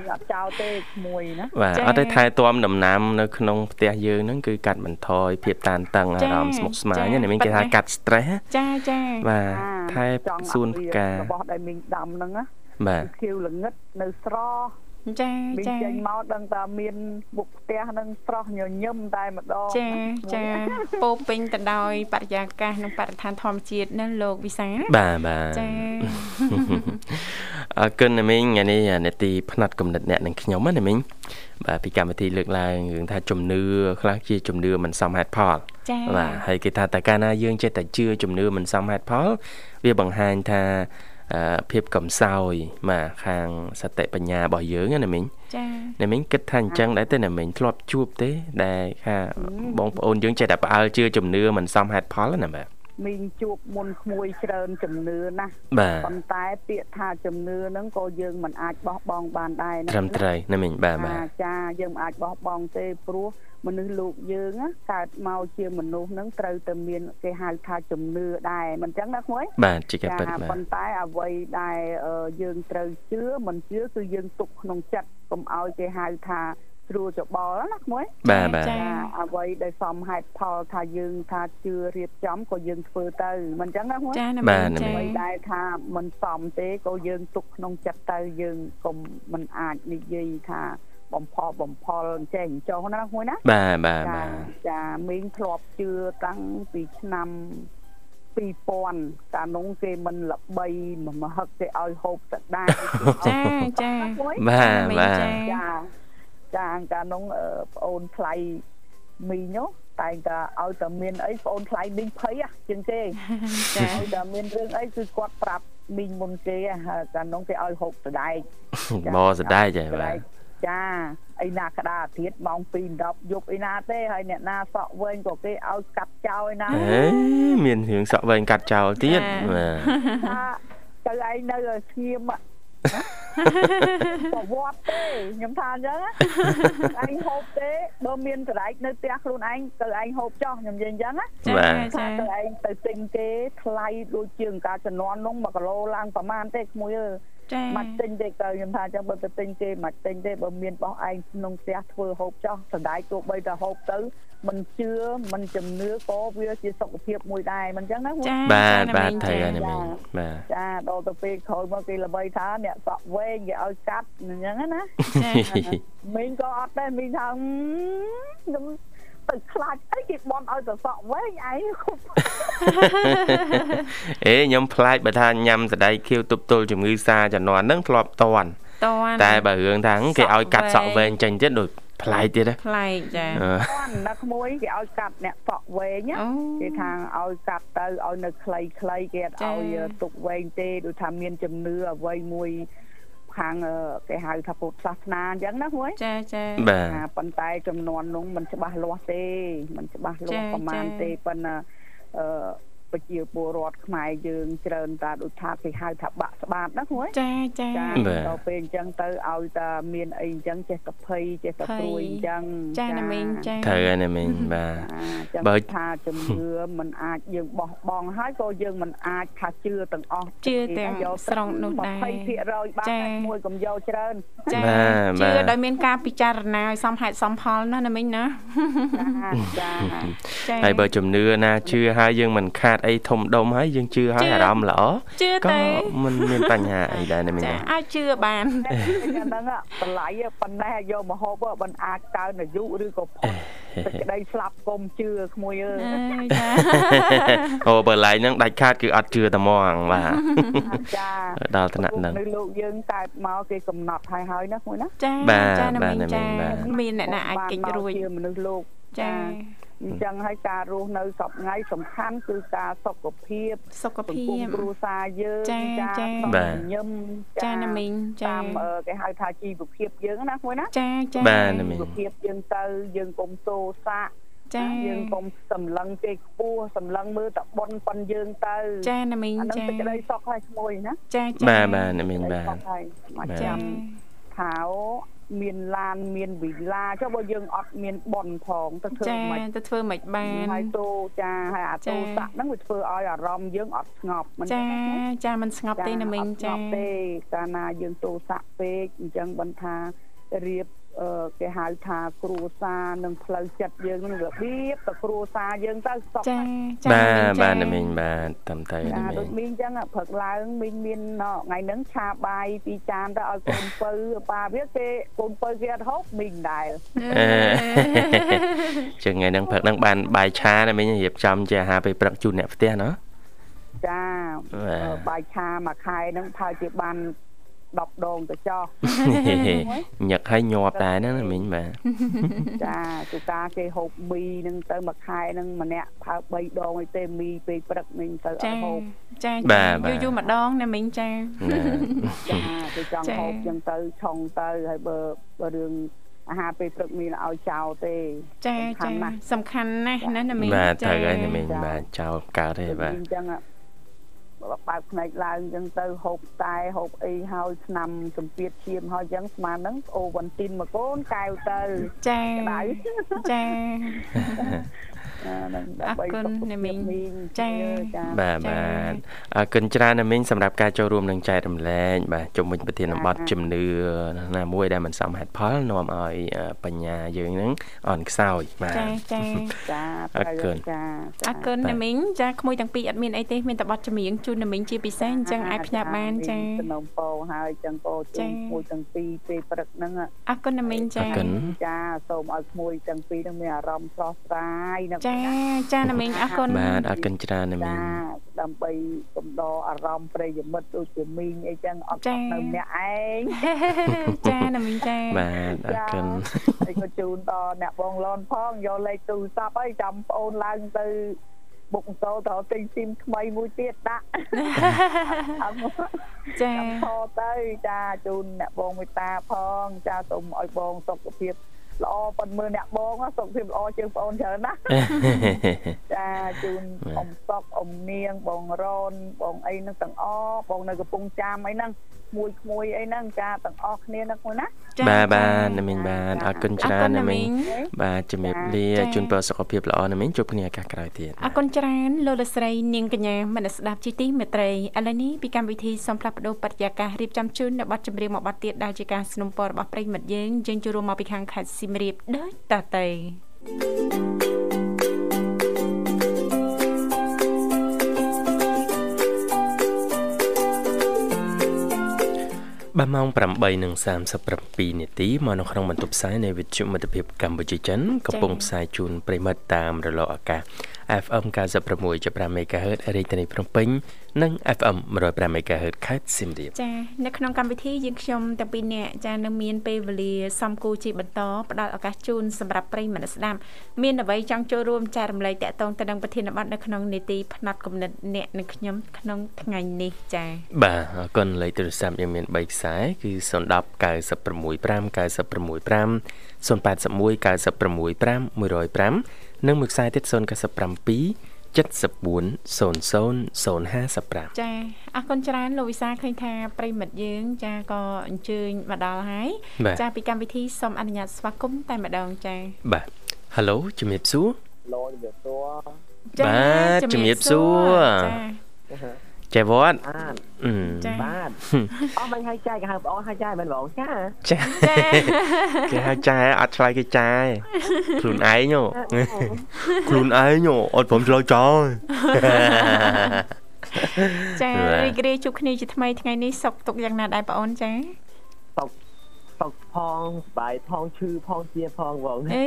Speaker 2: បាទ
Speaker 6: ឃើញអត់ចោលទេក្មួយណា
Speaker 2: បាទ
Speaker 3: ចា៎
Speaker 2: អត់ទេថែទាំដំណាំនៅក្នុងផ្ទះយើងហ្នឹងគឺកាត់បន្ថយភាពតានតឹងអា
Speaker 3: ចា៎
Speaker 2: រម្មណ៍ស្មុគស្មាញ
Speaker 3: ចា៎
Speaker 2: ណាមានគេ
Speaker 3: ពិ
Speaker 2: ថា
Speaker 3: តណាស់
Speaker 2: កាត់ stress ណា
Speaker 3: ចាចា
Speaker 2: បាទថែ
Speaker 6: ចង់ឲ្យ
Speaker 2: សួនផ្កា
Speaker 6: របស់ដែលមីងដាំហ្នឹងណា
Speaker 2: បាទ
Speaker 6: ខៀវល្ងឹតនៅស្រស់
Speaker 3: ចា
Speaker 6: មីង
Speaker 3: ចា
Speaker 6: ចេញមកដឹងថាមានមុខផ្ទះហ្នឹងស្រស់ញញឹមតែម្ដង
Speaker 3: ចាចាពោរពេញទៅដោយបរិយាកាសនិងបរិស្ថានធម្មជាតិណាលោកវិសាល
Speaker 2: បាទបាទ
Speaker 3: ចា
Speaker 2: អរគុណណាមីងថ្ងៃនេះនេតិផ្នែកកំណត់អ្នកនឹងខ្ញុំណាមីងបាទពីកម្មវិធីលើកឡើងរឿងថាជំនឿខ្លះជាជំនឿមិនសមហេតុផល
Speaker 3: ចា
Speaker 2: បាទហើយគេថាតើកាលណាយើងចេះតែជឿជំនឿមិនសមហេតុផល វាបង្ហាញថាអឺភាពកំសោយបាទខាងសតិបញ្ញារបស់យើងណាមីង
Speaker 3: ចា
Speaker 2: ណាមីងគិតថាអញ្ចឹងដែរទេណាមីងធ្លាប់ជួបទេដែលថាបងប្អូនយើងចេះតែផ្អើលជឿជំនឿមិនសមហេតុផលណាបាទ
Speaker 6: មីងជួបមុនក្មួយច្រើនជំនឿណាស់
Speaker 2: បាទ
Speaker 6: ប៉ុន្តែពាក្យថាជំនឿហ្នឹងក៏យើងមិនអាចបោះបង់បានដែរណា
Speaker 2: ត្រឹមត្រូវណាមីងបាទបាទ
Speaker 6: អាចារ្យយើងមិនអាចបោះបង់ទេព្រោះមនុស្សលោកយើងណាកើតមកជាមនុស្សហ្នឹងត្រូវតែមានគេហៅថាជំនឿដែរមិនចឹងណាក្មួយ
Speaker 2: បាទជាការពិត
Speaker 6: ចា
Speaker 2: បាទ
Speaker 6: ប៉ុន្តែអ្វីដែលអឺយើងត្រូវជឿមិនជឿគឺយើងទុកក្នុងចិត្តកុំឲ្យគេហៅថាស្រួលច្បល់ណាក្មួយ
Speaker 2: បាទបាទ
Speaker 3: ចា
Speaker 6: ចាអ្វីដែលសមហេតុផលថាយើងថាជឿរៀបចំក៏យើងធ្វើទៅមិនចឹងណាក្មួយ
Speaker 3: ចាណា
Speaker 2: បាទ
Speaker 3: មីង
Speaker 2: ណាមី
Speaker 3: ចា
Speaker 2: ង
Speaker 6: ដែលថាមិនសមទេក៏យើងទុកក្នុងចិត្តទៅយើងកុំមិនអាចនិយាយថាបំផុសបំផុលអញ្ចេះអញ្ចោះណាក្មួយណា
Speaker 2: បាទបាទ
Speaker 6: ចា
Speaker 2: បាទ
Speaker 6: ចាមីងធ្លាប់ជឿតាំងពីឆ្នាំ2000តានោះគេមិនល្បីមហឹកគេឲ្យហូបសក្តា
Speaker 3: ចាចា
Speaker 6: មួយ
Speaker 2: បាទ
Speaker 3: មីង
Speaker 2: បាទ
Speaker 3: ចា
Speaker 6: ចាចាតានោះអឺប្អូនថ្លៃមីងនោះតែងតែឲ្យតែមានអីប្អូនថ្លៃមីងភ័យហ៎ជាងគេ
Speaker 3: ចា
Speaker 6: ឲ្យតែមានរឿងអីគឺគាត់ប្រាប់មីងមុនគេហ៎ហើយតានោះគេឲ្យហូបសដែក
Speaker 2: បោសដាច់ហើយបាទ
Speaker 6: ចាអីណាក្តារធាតម៉ោង2:10យប់អីណាទេហើយអ្នកណាសក់វែងក៏គេឲ្យកាត់ចោលឯណា
Speaker 2: អេមានរឿងសក់វែងកាត់ចោលទៀតបាទ
Speaker 6: ថាទៅឯងនៅឲ្យស្ងៀមអ่ะប្រវត្តិទេខ្ញុំថាអញ្ចឹងណា ឯងហូបទេបើមានចរៃនៅផ្ទះខ្លួនឯងទៅឯងហូបចោះខ្ញុំនិយាយអញ្ចឹងណា
Speaker 2: បា
Speaker 3: ចា
Speaker 2: ទ
Speaker 3: ចា
Speaker 6: ថាទៅឯងទៅទិញគេថ្លៃដូចជាងការចំនួននោះ1គីឡូឡើងប្រហែលទេក្មួយអើយ
Speaker 3: ចា
Speaker 6: មកទិញទេទៅខ្ញុំថាចឹងបើទៅទិញទេមកទិញទេបើមានបោះឯងក្នុងផ្ទះធ្វើហូបចោះសណ្ដែកទោះបីតែហូបទៅមិនជឿមិនជំនឿក៏វាជាសុខភាពមួយដែរមិនចឹងណាហ៊ូ
Speaker 3: ចា
Speaker 2: បាទ
Speaker 3: ណា
Speaker 2: បាទ
Speaker 3: មីង
Speaker 2: ត្រូវ
Speaker 3: ចា
Speaker 2: ហើយណាមីងបាទ
Speaker 6: ចាដល់ទៅពេលក្រោយមកគេល្បីថាអ្នកសក់វែងគេឲ្យកាត់អញ្ចឹងណា
Speaker 3: ចា
Speaker 6: មីងក៏អត់ដែរមីងថាអឺខ្ញុំទៅខ្លាចអីគេបន់ឲ្យ ទៅសក់វែងឯងគប់
Speaker 2: អេខ្ញុំផ្លាច់បើថាញ៉ាំសណ្ដែកខៀវទប់ទល់ជំងឺសាជំនាន់ហ្នឹងធ្លាប់តន់
Speaker 3: តន
Speaker 2: តែបើរឿងថាហ្នឹងគេឲ្យកាត់ស
Speaker 3: សក់
Speaker 2: ក់
Speaker 3: វែ
Speaker 2: វែ
Speaker 3: ង
Speaker 2: ងចេញទៀតដូចផ្លាច់ទៀតណា
Speaker 3: ប្លែកចា
Speaker 2: អឺ
Speaker 6: គាត់ណាក្មួយគេឲ្យកាត់អ្នកសក់វែងណា
Speaker 3: អូ
Speaker 6: គេថាឲ្យកាត់ទៅឲ្យនៅខ្លីខ្លីៗគេអត់
Speaker 3: ចា៎
Speaker 6: ឲ្យទុកវែងទេដូចថាមានជំនឿអ្វីមួយខាងអឺគេហៅថាពុទ្ធសាសនាអញ្ចឹងណាហួយ
Speaker 3: ចាចា
Speaker 2: បាទ
Speaker 6: ថាប៉ុន្តែចំនួននោះมันច្បាស់លាស់ទេมันច្បាស់លាស់ប្រមាណទេប៉ុន្តែអឺប្រជាពលរដ្ឋខ្មែរយើងច្រើនតាដូចថាគេហៅថាបាក់ស្បាតណាហួយ
Speaker 3: ចាចា
Speaker 6: ចា
Speaker 2: បាទ
Speaker 6: ដល់ពេលអញ្ចឹងទៅឲ្យតាមានអីអញ្ចឹងចេះតែភ័យចេះតែព្រួយអញ្ចឹង
Speaker 3: ចាណាមីងចា
Speaker 2: ត្រូវហើយណាមីងបាទ
Speaker 6: ចា
Speaker 2: បើ
Speaker 6: បើថាជំនឿ มันអាចយើងបោះបង់ហើយក៏យើងមិនអាចថាជឿទាំងអស់
Speaker 3: ជឿទាំង
Speaker 6: យក
Speaker 3: ស្រង់នោះដែរ
Speaker 6: 20%បាន
Speaker 3: ចា៎
Speaker 6: តែមួយកុំយកច្រើន
Speaker 3: ចា
Speaker 2: បាទ
Speaker 3: ជឿ
Speaker 2: បាទ
Speaker 3: ដោយមានការពិចារណាឲ្យសមហេតុសមផលណាណាមីងណា
Speaker 6: ចា
Speaker 3: ចា
Speaker 6: ចា
Speaker 2: ហើយបើជំនឿណាជឿហើយយើងមិនខាតអីធំដុំហើយយើងជឿហើយអារម្មណ៍ល្អ
Speaker 3: ជឿ
Speaker 2: ក៏
Speaker 3: តែ
Speaker 2: មិនមានបញ្ហាអីដែរណាមីង
Speaker 3: ចា
Speaker 2: ណា
Speaker 3: អាចជឿបាន
Speaker 6: តែអាហ្នឹងអាតម្លៃអាប៉ុណ្ណេះយកមកហូបមិនអាចកើនអាយុឬក៏ផុតសេចក្តីស្លាប់កុំជឿក្មួយអើយ
Speaker 3: អើយចា
Speaker 2: អូបើឡៃហ្នឹងដាច់ខាតគឺអត់ជឿតែហ្មងបាទ
Speaker 6: ចា
Speaker 2: ដល់ថ្នាក់ហ្នឹង
Speaker 6: នៅលោកយើងតែមកគេកំណត់ហើយហើយណាក្មួយណា
Speaker 3: ចា
Speaker 2: បាទ
Speaker 3: ចាណាមីង
Speaker 2: បាទណា
Speaker 3: ចា
Speaker 2: មីងបាទ
Speaker 3: មានអ្នកណាអាចគេចរួច
Speaker 6: បានមកជាមនុស្សលោក
Speaker 3: ចា
Speaker 6: អញ្ចឹងហើយការរស់នៅសពថ្ងៃសំខាន់គឺការសុខភាព
Speaker 3: សុខ
Speaker 6: សង្គ
Speaker 3: ភា
Speaker 6: ម
Speaker 3: ព
Speaker 6: គ្រួសារយើង
Speaker 3: ចាចា
Speaker 2: បាទ
Speaker 6: រញឹម
Speaker 3: ចាណាមីងចា
Speaker 6: តាមអឺគេហៅថាជីវភាពយើងណាមួយណា
Speaker 3: ចាចា
Speaker 2: បាទណាមីង
Speaker 6: ជីវភាពយើងទៅយើងកុំសោសាក់
Speaker 3: ចា
Speaker 6: យើងកុំសម្លឹងគេខ្ពស់សម្លឹងមើលតបុនប៉ុនយើងទៅ
Speaker 3: ចាណាមីង
Speaker 6: អានឹង
Speaker 3: ចា
Speaker 6: សេចក្តីសុខហើយឈ្មោះណា
Speaker 3: ចា
Speaker 2: បាទបាទណាមីង
Speaker 6: សេចក្តី
Speaker 2: បាទ
Speaker 6: សុខហើយមក
Speaker 2: បាទ
Speaker 6: ចាំ
Speaker 3: ចា
Speaker 6: ថាអូ មានឡានមានវិឡាចុះបើយើងអត់មានប៉ុនផងទៅធ្វើ
Speaker 3: ចា
Speaker 6: មិន
Speaker 3: ទៅធ្វើមិនបាន
Speaker 6: ខ្មិចហើយតូចាហើយអា
Speaker 3: ចា
Speaker 6: តូតាក់ហ្នឹងវាធ្វើឲ្យអារម្មណ៍យើងអត់ស្ងប់មិន
Speaker 3: ចាចាមិនស្ងប់ទេណាមីង
Speaker 6: អត់ស្ង
Speaker 3: ចា
Speaker 6: ប់ទេកាលណាយើងតូតាក់ពេកអញ្ចឹងបន្តថារៀបអឺគេហៅថាគ្រួសារនិងផ្លូវចិត្តយើងនឹងរបៀបទៅគ្រួសារយើងទៅសុខ
Speaker 3: ចាចា
Speaker 2: បាទ
Speaker 3: ចា
Speaker 2: បាទណាមីងបាទតាមតើណា
Speaker 6: ចា
Speaker 2: មី
Speaker 6: ដូច
Speaker 2: ង
Speaker 6: មីងអញ្ចឹងអាព្រឹកឡើងមីងមានណ៎ថ្ងៃហ្នឹងឆាបាយពីរចានទៅឲ្យកូនពៅ ប៉ាវាគេកូនពៅគេអត់ហូបមីងដែរ
Speaker 2: អេ ចឹងថ្ងៃហ្នឹងព្រឹកហ្នឹងបានបាយឆាណាមីងរៀបចំជាអាហារពេលព្រឹកជូនអ្នកផ្ទះណោះ
Speaker 6: ចា
Speaker 2: បាទ
Speaker 6: អឺបាយឆាមួយខែហ្នឹងប្រហែលជាបាន10ដងទៅចោះ
Speaker 2: ញឹកហើយញាប់ដែរហ្នឹងណាមីងបាទ
Speaker 6: ចាទូកាគេហូបមីហ្នឹងទៅមួយខែហ្នឹងម្នាក់ប្រហែល3ដងឯទេមីពេលព្រឹកមីងទៅអ
Speaker 3: ចា
Speaker 6: ត់ហូប
Speaker 3: ចាយូរយូរម្ដងណាមីងចា
Speaker 2: ណា
Speaker 6: ចាគេចង់
Speaker 3: ចា
Speaker 6: ហូបអញ្ចឹងទៅឆុងទៅហើយបើបើរឿងអាហារពេលព្រឹកមីងឲ្យចោលទេ
Speaker 3: ចាចាសំខាន់ណាស់ណាណាមីង
Speaker 2: បាទ
Speaker 3: ចា
Speaker 2: ត្រូវហើយណាមីងបាទចោលកើតទេ
Speaker 6: ដូច
Speaker 2: បាទ
Speaker 6: យើងអញ្ចឹងអាបើបើកភ្នែកឡើងអញ្ចឹងទៅហូបតែហូបអីហើយឆ្នាំសម្ពាធឈាមហើយអញ្ចឹងស្មានហ្នឹងអូវ៉ាន់ទីនមួយកូនកែវទៅ
Speaker 3: ចា
Speaker 6: ក្តៅ
Speaker 3: ចា
Speaker 6: អាហ្នឹង
Speaker 3: អរគុណអ្នកមីងចា៎
Speaker 2: បាទ
Speaker 3: ចា៎
Speaker 2: បាទអរគុណច្រើនណាមីងសម្រាប់ការចូលរួមនឹងចែករំលែកបាទជំវិញប្រធានបទជំនឿណាមួយដែលមិនសមហេតុផលនាំឲ្យអឺបញ្ញាយើងហ្នឹងអន់ខ្សោយបាទ
Speaker 3: ចាចា
Speaker 6: ចា
Speaker 2: អរគុណ
Speaker 6: ចា
Speaker 3: អរគុណណាមីងចាក្មួយទាំងពីរអត់មានអីទេមានតែបទចម្រៀងជូនណាមីងជាពិសេសអញ្ចឹងអាចផ្ញើបានចា
Speaker 6: មានសំណូមពរហើយអញ្ចឹងពោជូនឈ្មួយទាំងពីរពេលព្រឹកហ្នឹងអា
Speaker 3: អរគុណណាមីង
Speaker 2: អ
Speaker 3: ចា
Speaker 2: រគុណ
Speaker 6: ចាសូមឲ្យឈ្មួយទាំងពីរហ្នឹងមានអារម្មណ៍ស្រស់ស្រាយនឹក
Speaker 3: ចាចាណាមីងអរគុណ
Speaker 2: បាទអរគុណច្រើនណាមី
Speaker 6: ចា
Speaker 2: ង
Speaker 6: ដើម្បីកំដរអារម្មណ៍ប្រិយមិត្តដូចជាមីងអីចឹងអត់នៅម្នាក់ឯង
Speaker 3: ចាណាមីងចា
Speaker 2: បាទអរគុណ
Speaker 6: អីក៏ជូនដល់អ្នកបងឡនផងយកលេខទូរស័ព្ទឲ្យចាំប្អូនឡើងទៅបុកតោទៅទិញស៊ីមថ្មីមួយទៀតដាក់អត់មក
Speaker 3: ចា
Speaker 6: ចាំខ ទៅចាជូនអ្នកបងមេត្តាផងចាសូមឲ្យបងសុខភាពល្អប៉ុនមើលអ្នកបងណាសុខភាពល្អជាងប្អូនច្រើន ណាស់ចាជូនអ៊ំសុកអ៊ំនាងបងរនបងអីហ្នឹងទាំងអស់បងនៅកំពង់ចាមអីហ្នឹងមួយក្មួយអីហ្នឹងចាទាំងអស់គ្នាហ្នឹងមួយណា
Speaker 3: ចា
Speaker 2: បាទបាទណាមីងបាទអរគុណ
Speaker 3: អ
Speaker 2: ច្រើ
Speaker 3: រគុ
Speaker 2: ន
Speaker 3: ណ
Speaker 2: ណា
Speaker 3: ណា
Speaker 2: មី
Speaker 3: មី
Speaker 2: ង
Speaker 3: ង
Speaker 2: បាទជំរាបលា
Speaker 3: ចា៎
Speaker 2: ជូនពរសុខភាពល្អណាមីងជួបគ្នាឱកាសក្រោយទៀត
Speaker 3: អរគុណច្រើនលោកលោកស្រីនាងកញ្ញាមនស្សស្ដាប់ជីទីមេត្រីឥឡូវនេះពីកម្មវិធីសំផ្លាប់បដោបរិយាកាសរៀបចំជូននៅប័ណ្ណចម្រៀងមួយប័ណ្ណទៀតដែលជាការสนับสนุนរបស់ប្រិយមិត្តយើងយើងជួបរួមមកពីខាងខេត្តសៀមរាបដូចតទៅ
Speaker 2: បាទម៉ោង8:37នាទីមកនៅក្នុងបន្ទប់ផ្សាយនៃវិទ្យុមិត្តភាពកម្ពុជាចិនកំពុងផ្សាយជូនប្រិមត្តតាមរលកអាកាស FM 96.5 MHz រាជធានីភ្នំពេញនិង FM 105 MHz ខេត្តសៀមរាប
Speaker 3: ចានៅក្នុងកម្មវិធីយើងខ្ញុំតាំងពីអ្នកចានៅមានពេលវេលាសំគូជាបន្តផ្ដល់ឱកាសជូនសម្រាប់ប្រិយមិត្តស្ដាប់មានអ្វីចង់ចូលរួមចែករំលែកតាក់ទងទៅនឹងប្រធានបទនៅក្នុងនេតិផ្នែកគណិតអ្នកនិងខ្ញុំក្នុងថ្ងៃនេះចា
Speaker 2: បាទអរគុណលេខទូរស័ព្ទយើងមាន3ខ្សែគឺ010 965 965 081 965 105និងមួយខ្សែទៀត097 7400055
Speaker 3: ចាអរគុណច្រើនលោកវិសាឃើញថាប្រិយមិត្តយើង ចាក៏អញ្ជើញមកដល់ហើយ
Speaker 2: បាទ
Speaker 3: ចាពីកម្មវិធីសូមអនុញ្ញាតស្វាគមន៍តែម្ដងចា
Speaker 2: បាទ Halo ជំរាបសួរ
Speaker 7: លោកជំរាបសួរ
Speaker 3: ចា
Speaker 2: បាទជំរាបសួរ
Speaker 3: ចា
Speaker 2: ចៃវត្ត
Speaker 7: បាទ
Speaker 2: អឺ
Speaker 3: ចា
Speaker 7: បាទអស់មិញហើយចែកគេហៅបងអូនហើយចែកមិនបងអូនចា
Speaker 2: ចាគេហៅចាអត់ឆ្លើយគេចាខ្លួនឯងហ៎ខ្លួនឯងហ៎អត់ព្រមឆ្លើយចា
Speaker 3: ចា
Speaker 2: បាទ
Speaker 3: រីករាយជួបគ្នាជាថ្មីថ្ងៃនេះសុខទុក្ខយ៉ាងណាដែរបងអូនចា
Speaker 7: សុកផងសบายផងឈឺផងជាផងបង
Speaker 3: អេ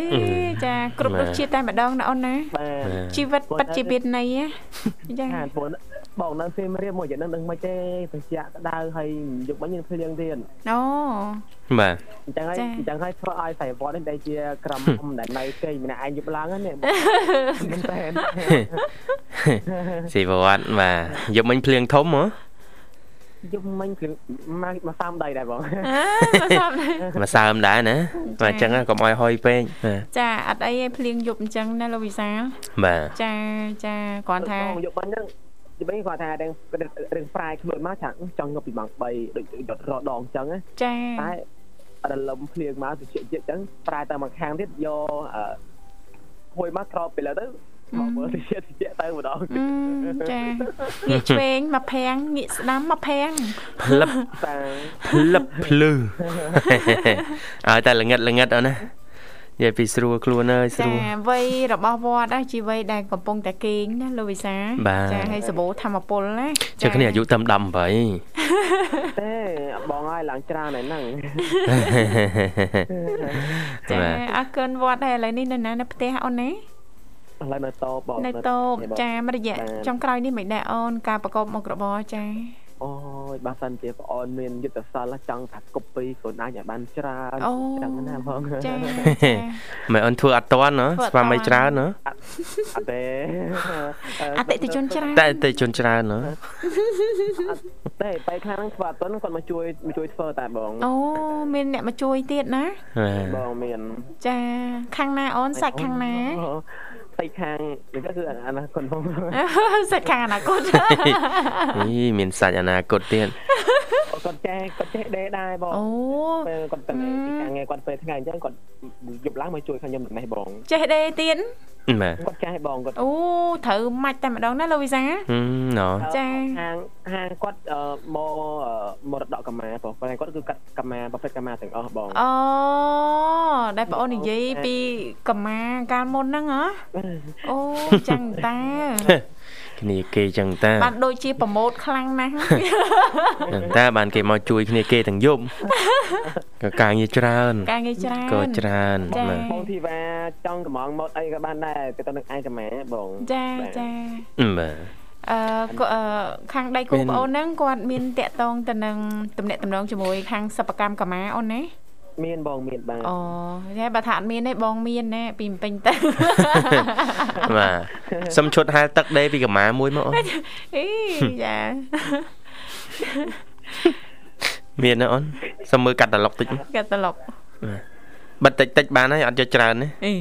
Speaker 3: ចាគ្រប់រសជាតិតែម្ដងណាអូនណា
Speaker 7: បាទ
Speaker 3: ជីវិតពិតជាមានន័យណាចា
Speaker 7: ខានបងបងនៅសៀមរាបមួយយ៉ាងហ្នឹងដឹងមិនទេត្រជាក់ក្តៅហើយយកមិញនឹងភ្លៀងទៀត
Speaker 3: អូ
Speaker 2: បាទ
Speaker 7: អញ្ចឹងហើយ
Speaker 3: ចា
Speaker 7: អញ្ចឹងហើយធ្វើឲ្យសៃវត្តនេះដែលជាក្រមមដែលនៅគេម្នាក់ឯងយប់ឡើងហ្នឹងមែនតើ
Speaker 2: សិវត្តបាទយកមិញភ្លៀងធំហ៎
Speaker 7: យប់មិញភ្លៀងមកមកសាមដៃដែរបង
Speaker 3: អើ មកសពណាស់
Speaker 2: មកសើមដែរណាបាទអញ្ចឹងកុំឲ្យហុយពេកបាទ
Speaker 3: ចាអត់អីឯងភ្លៀងយប់អញ្ចឹងណាលោកវិសាល
Speaker 2: បាទ
Speaker 3: ចាចាគ្រាន់ថា
Speaker 7: បងយប់មិញហ្នឹងយប់មិញគាត់ថារឿងរឿងប្រាយខ្លួនមកចាំចង់ងប់ពីម៉ោង3ដូចយត់រដងអញ្ចឹងណា
Speaker 3: ចា
Speaker 7: តែ រលឹមភ្លៀងមកត្រជាក់ត្រជាក់អញ្ចឹងប្រើតែមួយខាងទៀតយកអឺហួយមកក្រោបពីលើទៅមកមើល ត្រជាក់ត្រជាក់ទៅម្ដង
Speaker 3: អឺចាងាកឆ្វេងមកភាំងងាកស្ដាំមកភាំង
Speaker 2: ផ្លឹប
Speaker 7: តា
Speaker 2: ផ្លឹបភ្លឺ ឲ្យតែល្ងិតល្ងិតអូនណានិយាយពីស្រួលខ្លួនហើយស្រួ
Speaker 3: ចា
Speaker 2: ល
Speaker 3: វ័យរបស់វត្តហ្នឹងជីវ័យដែលកំពុងតែគេងណាលោកវិសា
Speaker 2: បាទ
Speaker 3: ចាហើយសបោធម្មពលណា
Speaker 2: ចុះគ្នាអាយុតាម18
Speaker 7: ទេបងហើយឡើងច្រើនហើយហ្នឹង
Speaker 3: ចា
Speaker 2: បាទ
Speaker 3: អរគុណវត្តហើយឥឡូវនេះនៅណានៅផ្ទះអូនណា
Speaker 7: ឥឡូវនៅតបបង
Speaker 3: នៅតូបចាមករយៈចុងក្រោយនេះមិនដែរអូនការប្រកបមុខរបរចា
Speaker 7: អូយបើសិនជាប្អូនមានយុទ្ធសាស្ត្រចង់ថាគប់ពីខ្លួនឯងឲ្យបានច្រើន
Speaker 3: អូ
Speaker 7: ចឹងណាបង
Speaker 3: ចា
Speaker 2: មិនអូនធ្វើអត់តាន់ហ៎ស្វាមីច្រើនហ៎
Speaker 7: អ ត់
Speaker 3: អ
Speaker 7: ទេ
Speaker 3: តិថិជនច្រើន
Speaker 2: តែតែជនច្រើនហ៎
Speaker 7: អត់ទេបែរខាងស្វាតុនគាត់មកជួយមកជួយធ្វើតែបង
Speaker 3: អូមានអ្នកមកជួយទៀតណា
Speaker 2: បាទ
Speaker 7: បងមាន
Speaker 3: ចាខាងណាអូនសាច់ខាង ណា
Speaker 7: អូសាច់ខាងនេះគឺអាណាគាត់បង
Speaker 3: សាច់ខាងអនា គត
Speaker 2: អីមានសាច់អនាគតទៀត
Speaker 7: គាត់ចេះគាត់ចេះដេរដែរបង
Speaker 3: អូ
Speaker 7: ពេលគាត់ទៅពីការងារគាត់ពេលថ្ងៃអញ្ចឹងគាត់យប់ឡើងមកជួយខាងខ្ញុំទាំងនេះបង
Speaker 3: ចេះដេរទៀត
Speaker 2: បាទ
Speaker 7: គាត់ចេះបងគាត់
Speaker 3: អូត្រូវម៉ាច់តែម្ដងណាលោកវិសា
Speaker 2: ហឹមណ៎
Speaker 3: ចា
Speaker 7: ហាងហាងគាត់អឺមកអឺមរតកកម្មាបងប៉ុន្តែគាត់គឺកាត់កម្មាប្រភេទកម្មាទាំងអស់បង
Speaker 3: អូដែលបងអូននិយាយពីកម្មាកាលមុនហ្នឹងហ៎អូចឹងតា
Speaker 2: គ្នាគេចឹងតា
Speaker 3: បានដូចជាប្រម៉ូតខ្លាំងណាស់
Speaker 2: ចឹងតាបានគេមកជួយគ្នាគេទាំងយប់ ក៏ការងារច្រើន
Speaker 3: ការងារច្រើន
Speaker 2: ក៏ច្រើន
Speaker 3: ចា៎
Speaker 2: បាទ
Speaker 7: បងធីវ៉ាចង់កំងម៉ូតអីក៏បានដែរទៅទៅនឹងឯងកម្មាបង
Speaker 3: ចា
Speaker 7: បាទ
Speaker 3: ចា
Speaker 2: បាទ
Speaker 3: អឺក៏អឺខាងដៃគូ
Speaker 2: មាន
Speaker 3: បងអូនហ្នឹងគាត់មានតាក់តងទៅនឹងតំណែងតំណងជាមួយខាងសិប្បកម្មកម្មាអូនណា
Speaker 7: មានបងមានបាទ
Speaker 3: អូតែបើថាអត់មានទេបងមានណែពីម្ពិញទៅ
Speaker 2: បាទសុំឈុតហែលទឹកដេរពីកម្មាមួយមកអូន
Speaker 3: អីយ៉ា
Speaker 2: មានណាអូនសុំមើលកាត់តឡុកតិច
Speaker 3: កាត់ត្រឡប់
Speaker 2: បិទតិចតិចបានហើយអត់យកច្រើនទេ
Speaker 3: អី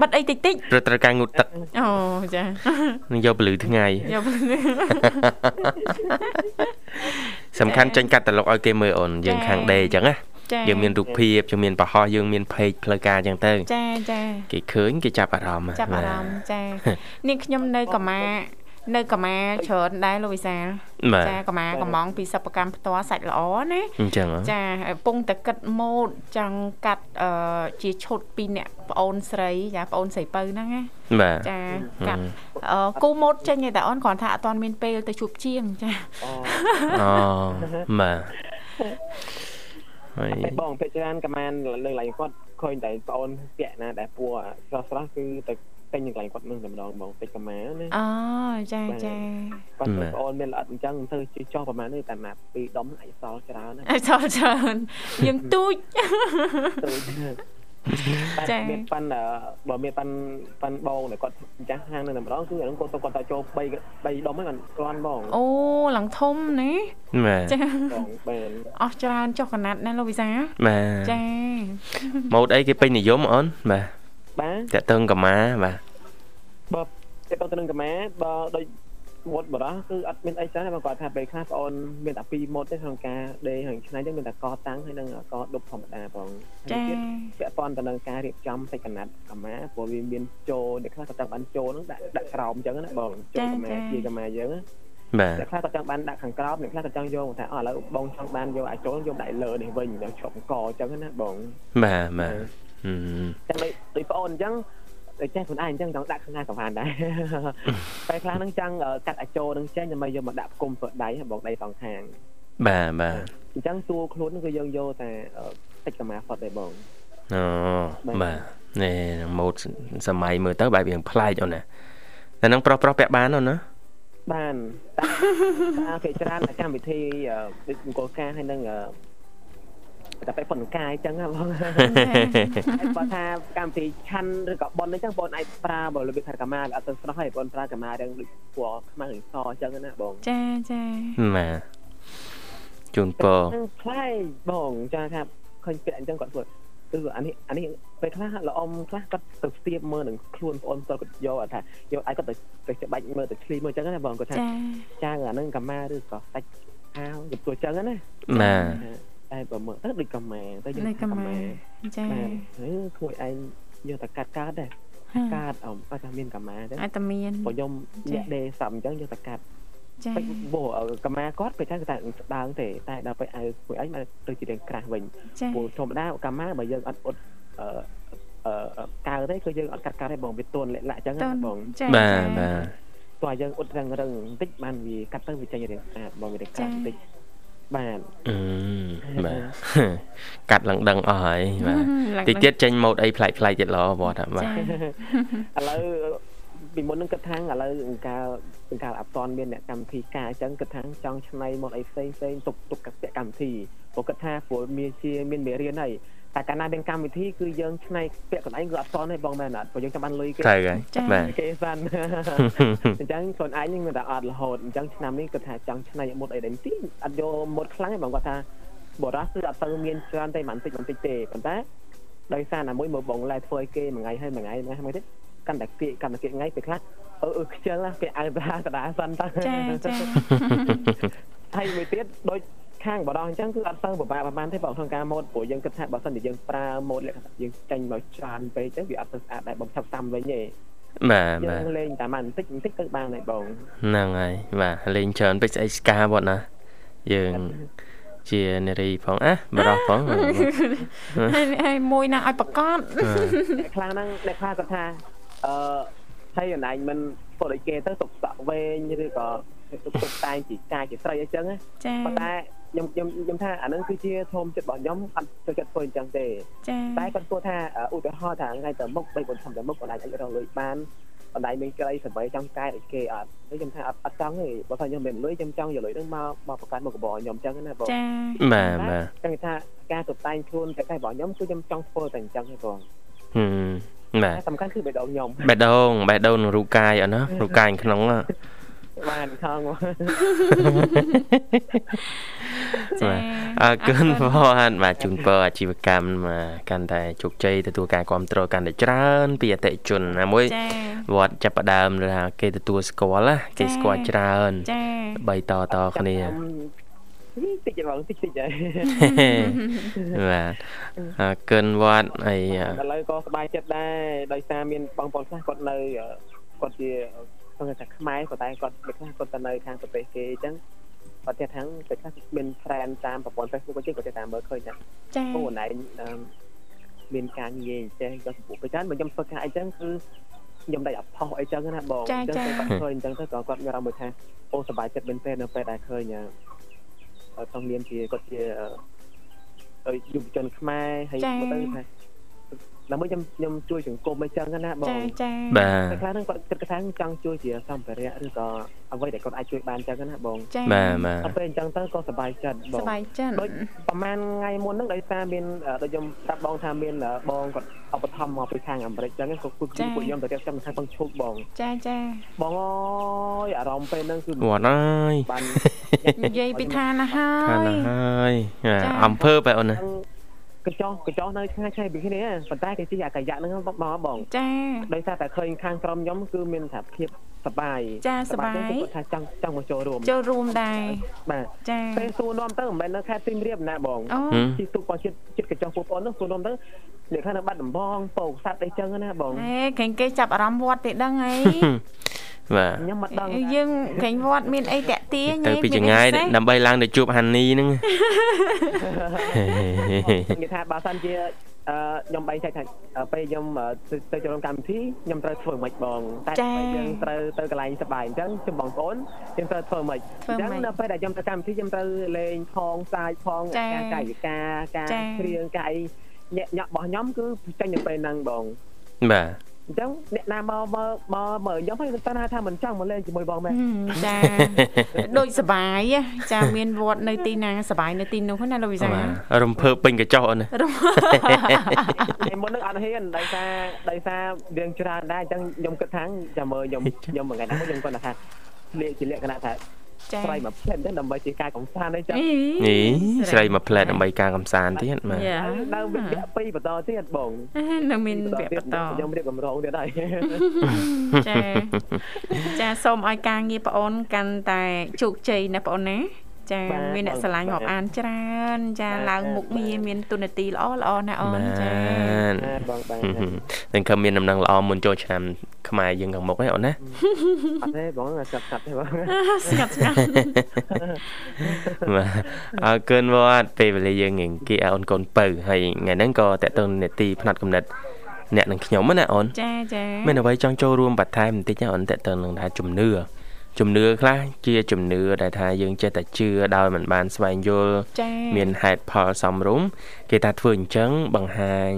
Speaker 3: បាត់អីតិចតិច
Speaker 2: ព្រោះត្រូវការងូតទឹក
Speaker 3: អូ ចា
Speaker 2: នឹងយកពលឺ ថ្ងៃ
Speaker 3: យក
Speaker 2: សំខាន់ចេញកាត់តឡុកឲ្យគេមើលអូនយើងខាងដេរអញ្ចឹងណា
Speaker 3: ចា
Speaker 2: យើងមានរូបភាពយើងមានប្រហោះយើងមានเพจផ្លូវការអញ្ចឹងទៅ
Speaker 3: ចាចា
Speaker 2: គេឃើញគេចាប់អារម្មណ៍
Speaker 3: ចាប់អារម្មណ៍ចានាងខ្ញុំនៅកម្មានៅកម្មាច្រើនដែរលោកវិសាល
Speaker 2: បាទ
Speaker 3: ចាកម្មាកំងពីសិប្បកម្មផ្ទាល់សាច់ល្អណា
Speaker 2: អញ្ចឹងហ៎
Speaker 3: ចាហើយពងតែគិតម៉ូតចង់កាត់អឺជាឈុតពីអ្នកប្អូនស្រីចាប្អូនស្រីពៅហ្នឹងណា
Speaker 2: បាទ
Speaker 3: ចា
Speaker 2: ហឹម
Speaker 3: កាត់អឺគូម៉ូតចេញឯងតែអូនគ្រាន់ថាអត់ទាន់មានពេលទៅជួបជាងចា
Speaker 7: អូ
Speaker 2: អូបាទហើយ
Speaker 7: តែបងពេលច្រើនកម្មា លើកឡើងគាត់ឃើញតែប្អូនពាក់ណាដែលពួរស្រស់ស្រស់គឺទៅពេញនឹងកន្លែងគាត់នឹងតែម្ដងបងពេចកម្មាណា
Speaker 3: អូចាចា
Speaker 7: បាទប្អូនមានល្អិតអញ្ចឹងទៅជិះចោះប្រហែលនេះតែណាពីរដុំអាចសល់ច្រើនណា
Speaker 3: អត់ ចូលច្រើនយើងទូច
Speaker 7: ទៅ
Speaker 3: ចា៎
Speaker 7: ចា៎មានប៉ាន់អឺបើមានប៉ាន់ប៉ាន់បងដែលគាត់ម្ចាស់ហាងនៅតែម្ដងគឺអាហ្នឹងគាត់ទៅគាត់ទៅចូល3 3ដុំហ្នឹងគាត់គ្រាន់បង
Speaker 3: អូឡើងធំណា
Speaker 2: បាទ
Speaker 3: ចា
Speaker 7: បងបាន
Speaker 3: អស់ច្រើនចុះកណាត់ណាលោកវិសា
Speaker 2: បាទ
Speaker 3: ចា
Speaker 2: ម៉ូតអីគេពេញនិយមអូនបាទ
Speaker 7: បាទ
Speaker 2: តាក់ទងកម្មាបាទ
Speaker 7: បើតែគាត់ទៅនឹងកម្មាបើដូចវត្តបរោះគឺអត់មានអីច្រើនទេបើគាត់ថាពេលខ្លះប្អូនមានតែពីរម៉ូតទេក្នុងការដេរហើយឆ្នៃចឹងមានតែកតាំងហើយនឹងកដប់ធម្មតាបងហើយ
Speaker 3: ចា
Speaker 7: ទៀតពាក់ព័ន្ធទៅនឹងការរៀបចំសាច់កណាត់កម្មាព្រោះវាមានចូលអ្នកខ្លះគាត់ចង់បានចូលហ្នឹងដាក់ដាក់ក្រោមចឹងណាបងចូលកម្មាជាកម្មាយើងណា
Speaker 2: បាទ
Speaker 7: អ្នកខ្លះក៏ចង់បានដាក់ខាងក្រោមអ្នកខ្លះក៏ចង់យកមកថាអស់ឥឡូវបងចង់បានយកអាចចូលយកដាក់លើនេះវិញយកឈប់អង្គអញ្ចឹងណាបង
Speaker 2: បាទបាទហឹម
Speaker 7: ចឹងដូចដូចប្អូនអញ្ចឹងតែចេះខ្លួនឯងអញ្ចឹងចង់ដាក់ខាងណាក៏បានដែរតែខ្លះហ្នឹងចង់អឺកាត់អាចចូលហ្នឹងចេញដើម្បីយកមកដាក់ផ្គុំធ្វើដៃហ្នឹងបងដៃសងខាង
Speaker 2: បាទបាទ
Speaker 7: អញ្ចឹងតួខ្លួនហ្នឹងគឺយើងយកតែអឺតិចកម្មាផុតដែរបង
Speaker 2: អូបាទនេះម៉ូតសម័យមើលទៅបែបរៀងប្លែកអូនណាតែហ្នឹងប្រុសប្រុសពាក់បានអូនណា
Speaker 7: បានតាតាគេច្រើនតែកម្មវិធីអឺដូចអង្គការហើយនឹងអឺតែបែបប៉ុនកាយអញ្ចឹងណាបង ហើយបើថាកម្មវិធីឆាន់ឬក៏ប៉ុនអញ្ចឹងបងអាចប្រើបើរបៀបថាកម្មាវាអត់ទៅស្រស់ហើយបងប្រើកម្មារឿងដូចពណ៌ខ្មៅឬសអញ្ចឹងណាបង
Speaker 3: ចាចា
Speaker 2: បាទជូនពរ
Speaker 7: ហ្នឹងខ្លែងបងចាំថាឃើញពាក់អញ្ចឹងគាត់ធ្វើគឺអានេះអានេះពេលខ្លះល្អអមខ្លះគាត់ទៅស្ទាបមើលនឹងខ្លួនបងស្ទើរគាត់យកអត់ថាយកអាចគាត់ទៅទៅច្បាច់មើលទៅឆ្លីមើលអញ្ចឹងណាបងគាត់ថា
Speaker 3: ចា
Speaker 7: ចាអាហ្នឹងកម្មាឬក៏សាច់អាវទៅអញ្ចឹងណា
Speaker 2: ណា
Speaker 7: តែបើមើលទៅដូចកម្មាតែយើង
Speaker 3: នៅកម្មាចា
Speaker 7: បាទអឺខ្លួនឯងយកតែកាត់កាត់ដែរកាត់អំអត់ថាមានកម្មាទេ
Speaker 3: អត្តមាន
Speaker 7: បើខ្ញុំ
Speaker 3: ចា៎
Speaker 7: អ្នកដេសាប់អញ្ចឹងយកតែកាត់
Speaker 3: ចា
Speaker 7: ពេចបើកម្មាគាត់ពេលហ្នឹងគេថាស្ដើងទេតែដល់ពេលឲ្យខ្លួនឯងមកទៅជារៀងក្រាស់វិញ
Speaker 3: ចា
Speaker 7: ព្រោះធម្មតាកម្មាបើយើងអត់អត់អឺអឺកៅទេគឺយើងអត់កាត់កាត់ទេបងវាទន់លាក់លាក់អញ្ចឹង
Speaker 3: តូន
Speaker 7: ណាបង
Speaker 3: ចា
Speaker 2: បាទ
Speaker 3: ចា
Speaker 2: បាទ
Speaker 7: ព្រោះយើងអត់រឹងរឹងបន្តិចបានវាកាត់ទៅវាចេញរៀងស្អាតបងវារៀងក្រាស់
Speaker 3: ចា៎
Speaker 7: បន្តិចបាទ
Speaker 2: អឺបាទ កាត់ឡើងដឹងអស់ហើយបាទតិចទៀតចេញម៉ូតអីប្លែកៗទៀតល្អវត្តបាទ
Speaker 3: ចា
Speaker 7: ឥឡូវពីមុនហ្នឹងគិតថាឥឡូវអង្ការអង្ការអត់តន់មានអ្នកកម្មវិធីការអញ្ចឹងគិតថាចង់ឆ្នៃមកអីផ្សេងផ្សេងទុកទុកកសិកម្មវិធីព្រោះគិតថាព្រោះមានជាមានមេរៀនហើយតែកាលណាមានកម្មវិធីគឺយើងឆ្នៃពាក្យកន្លែងគឺអត់តន់ទេបងមែនអត់ព្រោះយើងចាំបានលុយគេ
Speaker 2: ត្រូវហើយបាទ
Speaker 7: គេសាន់ អញ្ចឹងខ្លួនឯងហ្នឹងមានតែអត់រហូតអញ្ចឹងឆ្នាំនេះគិតថាចង់ឆ្នៃឲ្យមុតអីដែរបន្តិចអត់យកមុតខ្លាំងទេបងគាត់ថាបរោះគឺអត់ទៅមានច្រើនទេបន្តិចបន្តិចទេប៉ុន្តែដោយសារតែមួយមើលបងឡែធ្វើឲ្យគេមួយថ្ងៃហើយមួយថ្ងៃមួយថ្ងៃមួយទៀតកាន់តែគៀកកាន់តែគៀកថ្ងៃពេលខ្លះអឺអឺខ្ជិលណាស់គេអើតាកណ្ដាលសិនតើ
Speaker 3: ចាចា
Speaker 7: ហើយមួយទៀតដូចខាងបរោះអញ្ចឹងគឺអត់ទៅពិបាកប្រហែលទេបងក្នុងការម៉ូតព្រោះយើងគិតថាបើសិនជាយើងប្រើម៉ូតលក្ខណៈយើងចាញ់មកច្រើនពេកទៅវាអត់ទៅស្អាតដែរបងឆាប់សាំវិញទេ
Speaker 2: បាទ
Speaker 7: យើ
Speaker 2: បាទ
Speaker 7: ងលេងតែបន្តិចបន្តិចទៅបានហើយបង
Speaker 2: ហ្នឹងហើយបាទលេងច្រើនពេកស្អីស្កាវត្តណាយើងជានារីផងអះបរោះ ផងបាទ
Speaker 3: ហើយ ហើយមួយណាឲ្យប្រកប
Speaker 7: អ្នកខ្លះហ្នឹងអ្នកខ្លះគាត់ថាអឺហើយអណៃមិនពុតឲ្យគេទៅទុកសក់វែងឬក៏ទុកទុកតែងជាចាជាស្រីអីចឹងណា
Speaker 3: ចា
Speaker 7: ប៉ុន្តែខ្ញុំខ្ញុំខ្ញុំថាអាហ្នឹងគឺជាធម៌ចិត្តរបស់ខ្ញុំអត់ចូលចិត្តធ្វើអញ្ចឹងទេ
Speaker 3: ចា
Speaker 7: តែគាត់គួរថាអឺឧទាហរណ៍ថាថ្ងៃទៅមុខបី4ឆ្នាំទៅមុខបណ្ដាញអាចរកលុយបានបណ្ដាញមានក្រីសម្បីចង់កែឲ្យគេអត់ហើយខ្ញុំថាអត់អត់ចង់ទេបើថាខ្ញុំមិនលុយខ្ញុំចង់យកលុយហ្នឹងមកមកប្រកាន់មកកបខ្ញុំអញ្ចឹងណាបង
Speaker 3: ចា
Speaker 2: បាទបាទ
Speaker 7: ចង់ថាការតុបតែងខ្លួនតែតែរបស់ខ្ញុំគឺខ្ញុំចង់ធ្វើតែអញ្ចឹងទេបង
Speaker 2: ហឹមបាទ
Speaker 7: តែសំខាន់គឺបេះដូងខ្ញុំ
Speaker 2: បេះដូងបេះដូងនឹងរូបកាយអត់ណារូបកាយក្នុងណា
Speaker 7: បានខំ
Speaker 2: បាទ អរគុណបងបាទជូនពរអាជីវកម្មមកកាន់តែជោគជ័យទទួលការគ្រប់គ្រងកាន់តែច្រើនពីអតិថិជនណាមួយ
Speaker 3: ចា
Speaker 2: វត្តចាប់ផ្ដើមឬថាគេទទួលស្គាល់ណាគេស្គាល់ច្រើន
Speaker 3: ចា
Speaker 2: បីតតគ្នា
Speaker 7: តិចទេបងតិចតិចហើយ
Speaker 2: បាទអរគុណវត្តអីអ่ะ
Speaker 7: ឥឡូវក៏សប្បាយចិត្តដែរដោយសារមានបងប្អូនខ្លះគាត់នៅអឺគាត់ជាគាត់ថាខ្មែរប៉ុន្តែគាត់ពេលខ្លះគាត់ទៅនៅខាងប្រទេសគេអញ្ចឹងគាត់ទៀតថាពេលខ្លះមាន friend តាមប្រព័ន្ធ Facebook គាត់ជិះគាត់ទៀតតាមមើលឃើញថា
Speaker 3: ចា
Speaker 7: អូនឯងអឺមានការងារអញ្ចេះគាត់សម្ពុះពេលច្រើនបើខ្ញុំធ្វើការអីចឹងគឺខ្ញុំដៃអត់ផុសអីចឹងណាបងអញ្ចឹងពេលគាត់ឃើញអញ្ចឹងទៅក៏គាត់មានអារម្មណ៍មួយថាអូសប្បាយចិត្តមែនទេនៅពេលដែលឃើញអឺ អឺក្នុងនាមជាគាត់ជាអឺយុវជនខ្មែរហើយមកទៅថាដើម្បីខ្ញុំខ្ញុំជួយសង្គមអីចឹងណាបង
Speaker 3: ចាចា
Speaker 2: បាទ
Speaker 7: តែខ្លះហ្នឹងគាត់គិតថាចង់ជួយជាសម្ភារៈឬក៏អ្វីដែលគាត់អាចជួយបានចឹងណាបង
Speaker 3: ចា
Speaker 2: បាទបាទ
Speaker 7: ដល់ពេលអញ្ចឹងទៅក៏សប្បាយចិត្តប
Speaker 3: ស
Speaker 7: ង
Speaker 3: ប្បាយចិត្ត
Speaker 7: ដូចប្រហែលថ្ងៃមុនហ្នឹងដោយសារមានអឺដូចខ្ញុំប្រាប់បងថាមានអឺបងគាត់ឧបត្ថម្ភមកពីខាងអាមេរិកចឹងគាត់គូពួកខ្ញុំទៅរៀបចំខាងបងឈប់បង
Speaker 3: ចាចា
Speaker 7: បងអើយអារម្មណ៍ពេលហ្នឹងគឺ
Speaker 2: វត្តអើយ
Speaker 7: បាន
Speaker 3: និយាយពីឋានៈហើ
Speaker 2: ខាង
Speaker 3: យ
Speaker 2: ណាហើយបាទ
Speaker 3: ចា៎
Speaker 2: អំភើបែអូនណា
Speaker 7: កញ្ចោះកញ្ចោះនៅឆ្ងាយឆ្ងាយពីគ្នាប៉ុន្តែគេជិះអាកាយៈហ្នឹងមកបង
Speaker 3: ចា
Speaker 7: ដោយសារតែឃើញខាងក្រុមខ្ញុំគឺមានថាភាពសប្បាយ
Speaker 3: ចាសប្បាយ
Speaker 7: ហ្នឹងគឺគាត់ថាចង់ចង់មកចូលរួម
Speaker 3: ចូលរួមដែរ
Speaker 7: បាទ
Speaker 3: ចា
Speaker 7: ពេលសួរនាំទៅមិនមែននៅខេត្តសៀមរាបណាបង
Speaker 3: អូ
Speaker 2: ហឹម
Speaker 7: ជិះទូកបងជិតជិតកញ្ចោះពួកបងហ្នឹងសួរនាំទៅអ្នកខាងនៅបាត់ដំបងពោកសัตว์អីចឹងណាបង
Speaker 3: ហេក្រែងគេចាប់អារម្មណ៍វត្តទេដឹងអី
Speaker 2: បាទ
Speaker 7: ខ្ញុំមិនដឹង
Speaker 3: យើងក្រែងវត្តមានអីតាក់ទាញ
Speaker 2: ទៅពីចង្ងាយដើម្បីឡើងទៅជួបហានី ហ្នឹង
Speaker 7: និយាយថាបើសិនជាអឺខ្ញុំបែងចែកថាអឺពេលខ្ញុំអឺទៅចូលរួមកម្មវិធីខ្ញុំត្រូវធ្វើຫມិច្ចបងតែពេលយើងត្រូវទៅកន្លែងសប្បាយអញ្ចឹងជុំបងប្អូនយើងត្រូវធ្វើຫມិច្ច
Speaker 3: ធ្វើ
Speaker 7: អញ្ចឹ
Speaker 3: ម៉េ
Speaker 7: ង
Speaker 3: ច
Speaker 7: នៅពេលដែលខ្ញុំទៅកម្មវិធីខ្ញុំត្រូវលេងផងសាយផង
Speaker 3: ចា
Speaker 7: ការកាយវិការការ
Speaker 3: ចា
Speaker 7: គ្រៀងកាយញាក់ញាក់របស់ខ្ញុំគឺចេញទៅពេលហ្នឹងបង
Speaker 2: បាទ
Speaker 7: អញ្ចឹងអ្នកណាមកមើលមកមើលខ្ញុំហើយគាត់ថាថាមិនចង់មកលេងជាមួយបងមែន
Speaker 3: ហឹមចា ដូចសប្បាយហ៎ចាមានវត្តនៅទីណាសប្បាយនៅទីនោះណាលោកវិសាល
Speaker 2: បាទរំភើបពេញកញ្ចោះអូនណា
Speaker 3: រំ
Speaker 7: ថ្ងៃមុនហ្នឹងអត់ហ៊ានដោយសារដោយសាររឿងច្រើនដែរអញ្ចឹងខ្ញុំគិតថាចាំមើលខ្ញុំខ្ញុំមួយថ្ងៃណាមួយខ្ញុំគាត់ថាលេខជាលក្ខណៈថា
Speaker 3: ចា
Speaker 7: ស្រីមកផ្លែនទៅដើម្បីជាការកំសាន្តអីចឹង
Speaker 2: នេះស្រីមកផ្លែតដើម្បីការកំសាន្តទៀតបាទ
Speaker 3: យ៉ា
Speaker 7: ហើយនៅវគ្គពីរបន្តទៀតបង
Speaker 3: នៅមានវគ្គបន្ត
Speaker 7: ខ្ញុំរៀបកម្រងទៀតហើយ
Speaker 3: ចាចាសូមឲ្យការងារប្អូនកាន់តែជោគជ័យណាប្អូនណា ចា
Speaker 7: បាទ
Speaker 3: មានអ្នក
Speaker 7: បាទ
Speaker 3: ស្រឡាញ់មកអានច្រើន ចា
Speaker 7: បាទ
Speaker 3: ឡើងមុខងារ
Speaker 7: បាទ
Speaker 3: មានទុននទីល្អល្អណាអូនចា
Speaker 2: ន
Speaker 7: បាទបងបាទអ
Speaker 2: នឹងខំមានដំណឹងល្អមុនចូលឆ្នាំខ្មែរយើងខាងមុខហ្នឹងអូ នណា
Speaker 7: ត់ទេបងស្ងាត់ស្ងាត់ទេបង
Speaker 3: ស្ងាត់ស្ងាត់
Speaker 2: បាទអរគុណវត្តពេលវេលាយើងងគៀអូនកូនបើហើយថ្ងៃហ្នឹងក៏តេតតងនេតិផ្នែកកំណត់អ្នកនឹងខ្ញុំហ្នឹងណាអូន
Speaker 3: ចាចា
Speaker 2: មានអ្វីចង់ចូលរួមបន្ថែមបន្តិចណាអូនតេតតងនឹងថាជំនឿជំនឿខ្លះជាជំនឿដែលថាយើងចេះតែជឿដោយមិនបានស្វែងយល់
Speaker 3: ចា
Speaker 2: មានហេតុផលសមរម្យគេថាធ្វើអញ្ចឹងបង្ហាញ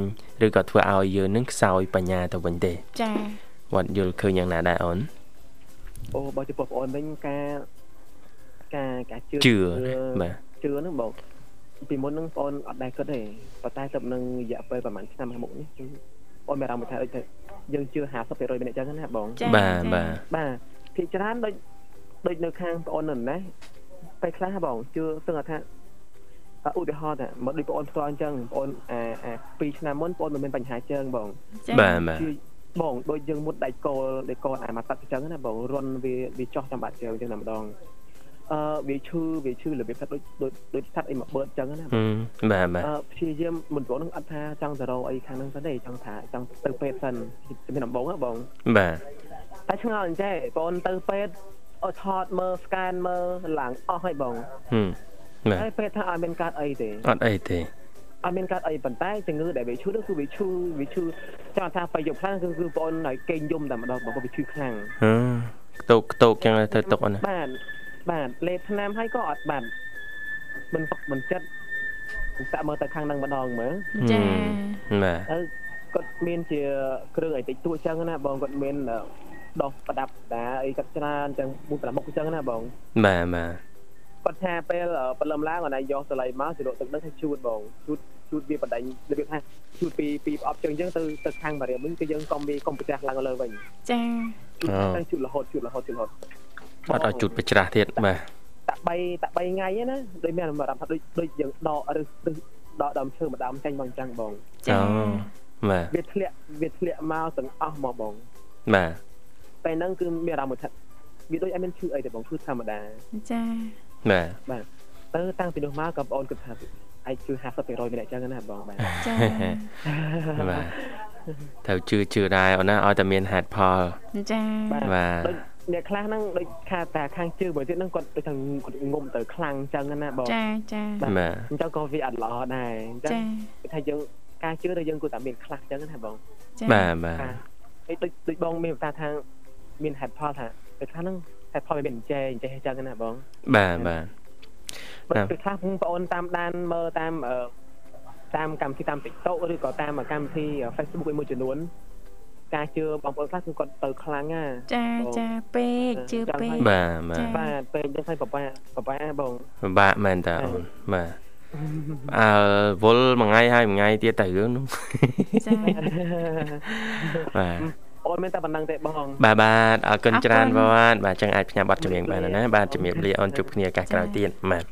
Speaker 2: ឬក៏ធ្វើឲ្យយើងនឹងខ្សោយបញ្ញាទៅវិញទេ
Speaker 3: ចា
Speaker 2: វត្តយល់ឃើញយ៉ាងណាដែរអូន
Speaker 7: អូបងចំពោះបងអូនវិញការការការជឿ
Speaker 2: ជឿណាបាទ
Speaker 7: ជឿហ្នឹងបងពីមុនហ្នឹងបងអូនអត់ដែរគិតទេប៉ុន្តែទៅនឹងរយៈពេលប្រហែលឆ្នាំខាងមុខនេះគឺបងមានអារម្មណ៍ថាដូចថាយើងជឿ50%ម្នាក់ចឹងណាបង
Speaker 3: ចា
Speaker 2: បាទ
Speaker 3: ចា
Speaker 2: បាទ
Speaker 7: បាទភាគច្រើនដូចដូចនៅខាងប្អូននោះណាពេលខ្លះបងជឿស្ទឹងថាអ่ะឧទាហរណ៍ថាមកដូចប្អូនផ្ទាល់អញ្ចឹងប្អូនអាអា2ឆ្នាំមុនប្អូនមិនមានបញ្ហាជើងបង
Speaker 3: ចា
Speaker 2: បាទបាទ
Speaker 7: គឺបងដូចយើងមុតដៃគោលដៃគោលអាមកទឹកអញ្ចឹងណាបងរន់វាវាចោះតាមបាត់ជើងអញ្ចឹងតែម្ដងអឺវាឈឺវាឈឺរបៀបថាដូចដូចដូចស្ថាត់អីមកបឺតអញ្ចឹងណាប
Speaker 2: ហឹមប
Speaker 7: ង
Speaker 2: ាទបាទ
Speaker 7: អឺព្យាយាមមុនប្អូននឹងអត់ថាចង់ទៅរកអីខាងហ្នឹងសិនទេចង់ថាចង់ទៅពេទ្យសិនជំនាន់ដំបូងណាបង
Speaker 2: បាទ
Speaker 7: តែឆ្ងល់អញ្ចេះបងទៅពេទ្យអត់ថតមើលស្កែនមើលឡើងអស់ហើយបង
Speaker 2: ហឹមបាទ
Speaker 7: ហើយពេទ្យថាអត់មានកើតអីទេ
Speaker 2: អត់អីទេ
Speaker 7: អត់មានកើតអីប៉ុន្តែជំងឺដែលវាឈឺនោះគឺវាឈឺវាឈឺចាំថាបាយប់ខ្លាំងគឺគឺបងឲ្យគេងយំតែម្ដងបងវាឈឺខ្លាំង
Speaker 2: ហឺខ្ទោកខ្ទោកចឹងទៅຕົកអូនណា
Speaker 7: បាទបាទលេបថ្នាំឲ្យក៏អត់បានមិនទុកមិនចិត្តសាក់មើលទៅខាងហ្នឹងម្ដងមើល
Speaker 3: ចា
Speaker 2: បាទ
Speaker 7: ហើយគាត់មានជាគ្រឿងអីតិចតួចចឹងណាបងគាត់មានអឺដោះប្រដាប់តាអីកាត់ច្រើនចឹងមួយប្រដាប់មុខចឹងណាបង
Speaker 2: បាទបាទ
Speaker 7: គាត់ថាពេលអឺព្រលឹមឡើងគាត់ណាយកសលៃមកសិរកទឹកនឹងឲ្យជូតបងជូតជូតវាបណ្ដាញរបៀបថាជូតពីពីផ្អប់ជើងអញ្ចឹងទៅទៅខាងបារាមវិញគឺយើងកុំវាកុំប្រទះឡើងលើវិញ
Speaker 3: ចា
Speaker 7: ជូតទៅជូតរហូតជូតរហូតជូតរហូត
Speaker 2: អត់ឲ្យជូតប្រច្រាស់ទៀតបាទ
Speaker 7: តាក់3តាក់3ថ្ងៃហ្នឹងណាដូចមានអារម្មណ៍ថាដូចដូចយើងដកឬឬដកដើមឈើម្ដងចាញ់មកអញ្ចឹងបង
Speaker 3: ចា
Speaker 2: អូបាទ
Speaker 7: វាធ្លាក់វាធ្លាក់មកទាំងអស់មកបង
Speaker 2: បាទ
Speaker 7: ពេលហ្នឹងគឺមានអារម្មណ៍ថាវាដូចអត់មានឈឺអីទេបងគឺធម្មតា
Speaker 3: ចា
Speaker 2: បាទ
Speaker 7: ទៅតាំងពីនោះមកក៏បងអូនគិតថាអាចជឿ50%ម្នាក់អញ្ចឹងណាបងបាទ
Speaker 3: ចា
Speaker 2: បាទត្រូវជឿជឿដែរអូនណាឲ្យតែមានហេតុផល
Speaker 3: ចា
Speaker 7: បាទ
Speaker 2: បាទ
Speaker 7: ដូចអ្នកខ្លះហ្នឹងដូចខាតាខាងជើងមួយទៀតហ្នឹងគាត់ដូចថាគាត់ងុំទៅខ្លាំងអញ្ចឹងណាបង
Speaker 3: ចាចា
Speaker 2: បាទ
Speaker 7: អញ្ចឹងក៏វាអត់ល្អដែរអញ្ចឹង
Speaker 3: ចា
Speaker 7: គេថាយើងការជឿរបស់យើងគួរតែមានខ្លះអញ្ចឹងណាបង
Speaker 3: ចា
Speaker 2: បាទបាទ
Speaker 7: អីដូចដូចបងមានប្រសាសន៍ថាមានហេតុផលថាពេលខ្លះហ្នឹងហេតុផលវាមានអញ្ចេះអញ្ចេះអញ្ចឹងណាបង
Speaker 2: បាទបាទ
Speaker 7: ពេលខ្លះបងប្អូនតាមដានមើលតាមអឺតាមកម្មវិធីតាម TikTok ឬក៏តាមកម្មវិធី Facebook មួយចំនួនការជឿបងប្អូនខ្លះគឺគាត់ទៅខ្លាំងណា
Speaker 3: ចាចាពេកជឿពេក
Speaker 2: បាទបាទ
Speaker 3: ចា
Speaker 7: បាទពេលយើងឲ្យបបាបបាបង
Speaker 2: ពិបាកមែនតាអូនបាទអើវល់មួយថ្ងៃហើយមួយថ្ងៃទៀតតែរឿងនោះ
Speaker 3: ចា
Speaker 2: បាទ
Speaker 7: អូនមានតែប៉ុណ្ណឹងទេបង
Speaker 2: បាទបាទអរគុណច្រើនវត្តបាទអញ្ចឹងអាចផ្ញើប័ណ្ណចម្រៀងបានហើយណាបាទជំរាបលាអូនជួបគ្នាឱកាសក្រោយទៀតបាទ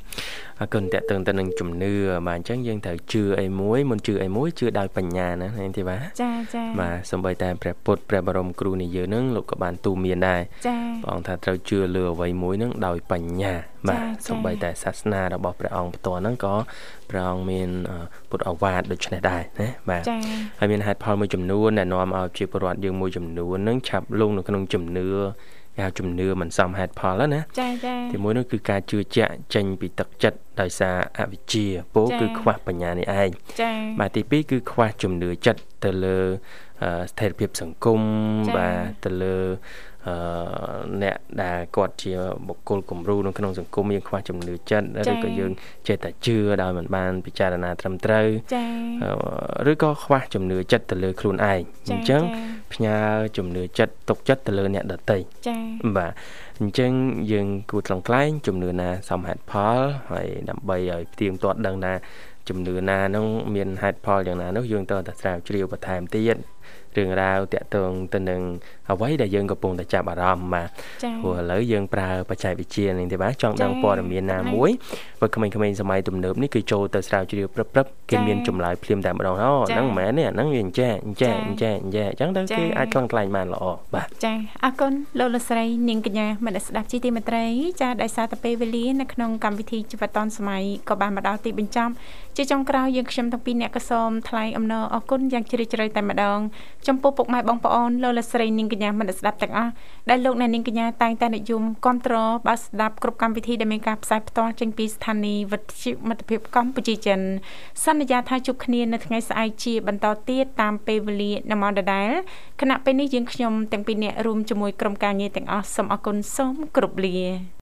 Speaker 2: អរគុណតេតឹងទៅនឹងជំនឿបាទអញ្ចឹងយើងត្រូវជឿអីមួយមុនជឿអីមួយជឿដោយបញ្ញាណានាងទេបាទ
Speaker 3: ចាចា
Speaker 2: បាទសំបីតែព្រះពុទ្ធព្រះបរមគ្រូនាយើងនឹងលោកក៏បានទូន្មានដែរ
Speaker 3: ចា
Speaker 2: ព្រះអង្គថាត្រូវជឿលើអ្វីមួយនឹងដោយបញ្ញាបា
Speaker 3: ចា៎
Speaker 2: ទ
Speaker 3: ចា៎
Speaker 2: សំបីតែសាសនារបស់ព្រះអង្គផ្ទាល់ហ្នឹងក៏ព្រះអង្គមានអឺពុទ្ធអាវាទដូចនេះដែរណាបាទ
Speaker 3: ចា
Speaker 2: ហើយមានហេតុផលមួយចំនួនដែលនាំឲ្យប្រជាពលរដ្ឋយើងមួយចំនួននឹងឆាប់លងនៅក្នុងជំនឿគេហៅជំនឿមិនសមហេតុផលហ្នឹងណា
Speaker 3: ចាចា
Speaker 2: ទីមួយនោះគឺការជឿជាក់ចេញពីទឹកចិត្តដោយសារអវិជ្ជាពោល
Speaker 3: ចា៎
Speaker 2: គឺខ្វះបញ្ញានេះឯង
Speaker 3: ចា
Speaker 2: បាទទីពីរគឺខ្វះជំនឿចិត្តទៅលើអឺស្ថិរភាពសង្គមបាទទៅលើអឺអ្នកដែលគាត់ជាបុគ្គលគំរូនៅក្នុងសង្គមយើងខ្វះជំនឿចិត្តឬក៏យើងចេះតែជឿដោយមិនបានពិចារណាត្រឹមត្រូវ
Speaker 3: ចា
Speaker 2: ឬក៏ខ្វះជំនឿចិត្តទៅលើខ្លួនឯង
Speaker 3: ចា៎
Speaker 2: អញ្ចឹង
Speaker 3: ចា៎
Speaker 2: ផ្ញើជំនឿចិត្តទុកចិត្តទៅលើអ្នកដតី
Speaker 3: ចា
Speaker 2: បាទអញ្ចឹងយើងគួរថ្លឹងថ្លែងជំនឿណាសមហេតុផលហើយដើម្បីឲ្យផ្ទៀងផ្ទាត់ដឹងថាជំនឿណានោះមានហេតុផលយ៉ាងណានោះយើងត្រូវតែស្រាវជ្រាវបន្ថែមទៀតរឿងរ៉ាវតាក់ទងទៅនឹងអ្វីដែលយើងកំពុងតែចាប់អារម្មណ៍បាទ
Speaker 3: ចា
Speaker 2: ព្រោះឥឡូវយើងប្រើបច្ចេកវិទ្យានេះទេបាទចង់ដឹង
Speaker 3: ចា៎
Speaker 2: ព័ត៌មានណា
Speaker 3: ហ្នឹងហើយ
Speaker 2: មួយបើក្មេងៗសម័យទំនើបនេះគឺចូលទៅស្រាវជ្រាវព្រឹបព្រឹបគេ
Speaker 3: ចា៎
Speaker 2: មានចម្លើយភ្លាមតែម្ដងហ៎
Speaker 3: ចា៎
Speaker 2: ហ្នឹងមិនមែនទេអាហ្នឹងវាអញ្ចេះអញ្ចេះ
Speaker 3: ចា៎
Speaker 2: អញ្ចេះអញ្ចេះអញ្ចឹងទៅ
Speaker 3: ចា៎
Speaker 2: គេអាចខ្លាំងខ្លាញបានល្អបាទ
Speaker 3: ចាអរគុណលោកលោកស្រីនាងកញ្ញាម មិត្តអ្នកស្ដាប់ជីទីមេត្រីចាដោយសារតែពេលវេលានៅក្នុងកម្មវិធីជីវិតឌុនសម័យក៏បានមកដល់ទីបញ្ចប់ជាចុងក្រោយយើងខ្ញុំទាំងពីរអ្នកក៏សូមថ្លែងអំណរអគុណយ៉ាងជ្រាលជ្រៅតែម្ដងចំពោះពុកម៉ែបងប្អូនលោកលកស្រីនាងកញ្ញាមិត្តអ្នកស្ដាប់ទាំងអស់ដែលលោកអ្នកនាងកញ្ញាតែងតែនិយមគ្រប់គ្រងបើស្ដាប់គ្រប់កម្មវិធីដែលមានការផ្សាយផ្ទាល់ចេញពីស្ថានីយ៍វិទ្យុមិត្តភាពកម្ពុជាចិនសន្យាថាជួបគ្នានៅថ្ងៃស្អែកជាបន្តទៀតតាមពេលវេលានៅម៉ោងដដែលគណៈពេលនេះយើងខ្ញុំទាំងពីរអ្នករួមជាមួយក្រុមការងារទាំងអស់សូមអរគុណសូមគោរពលា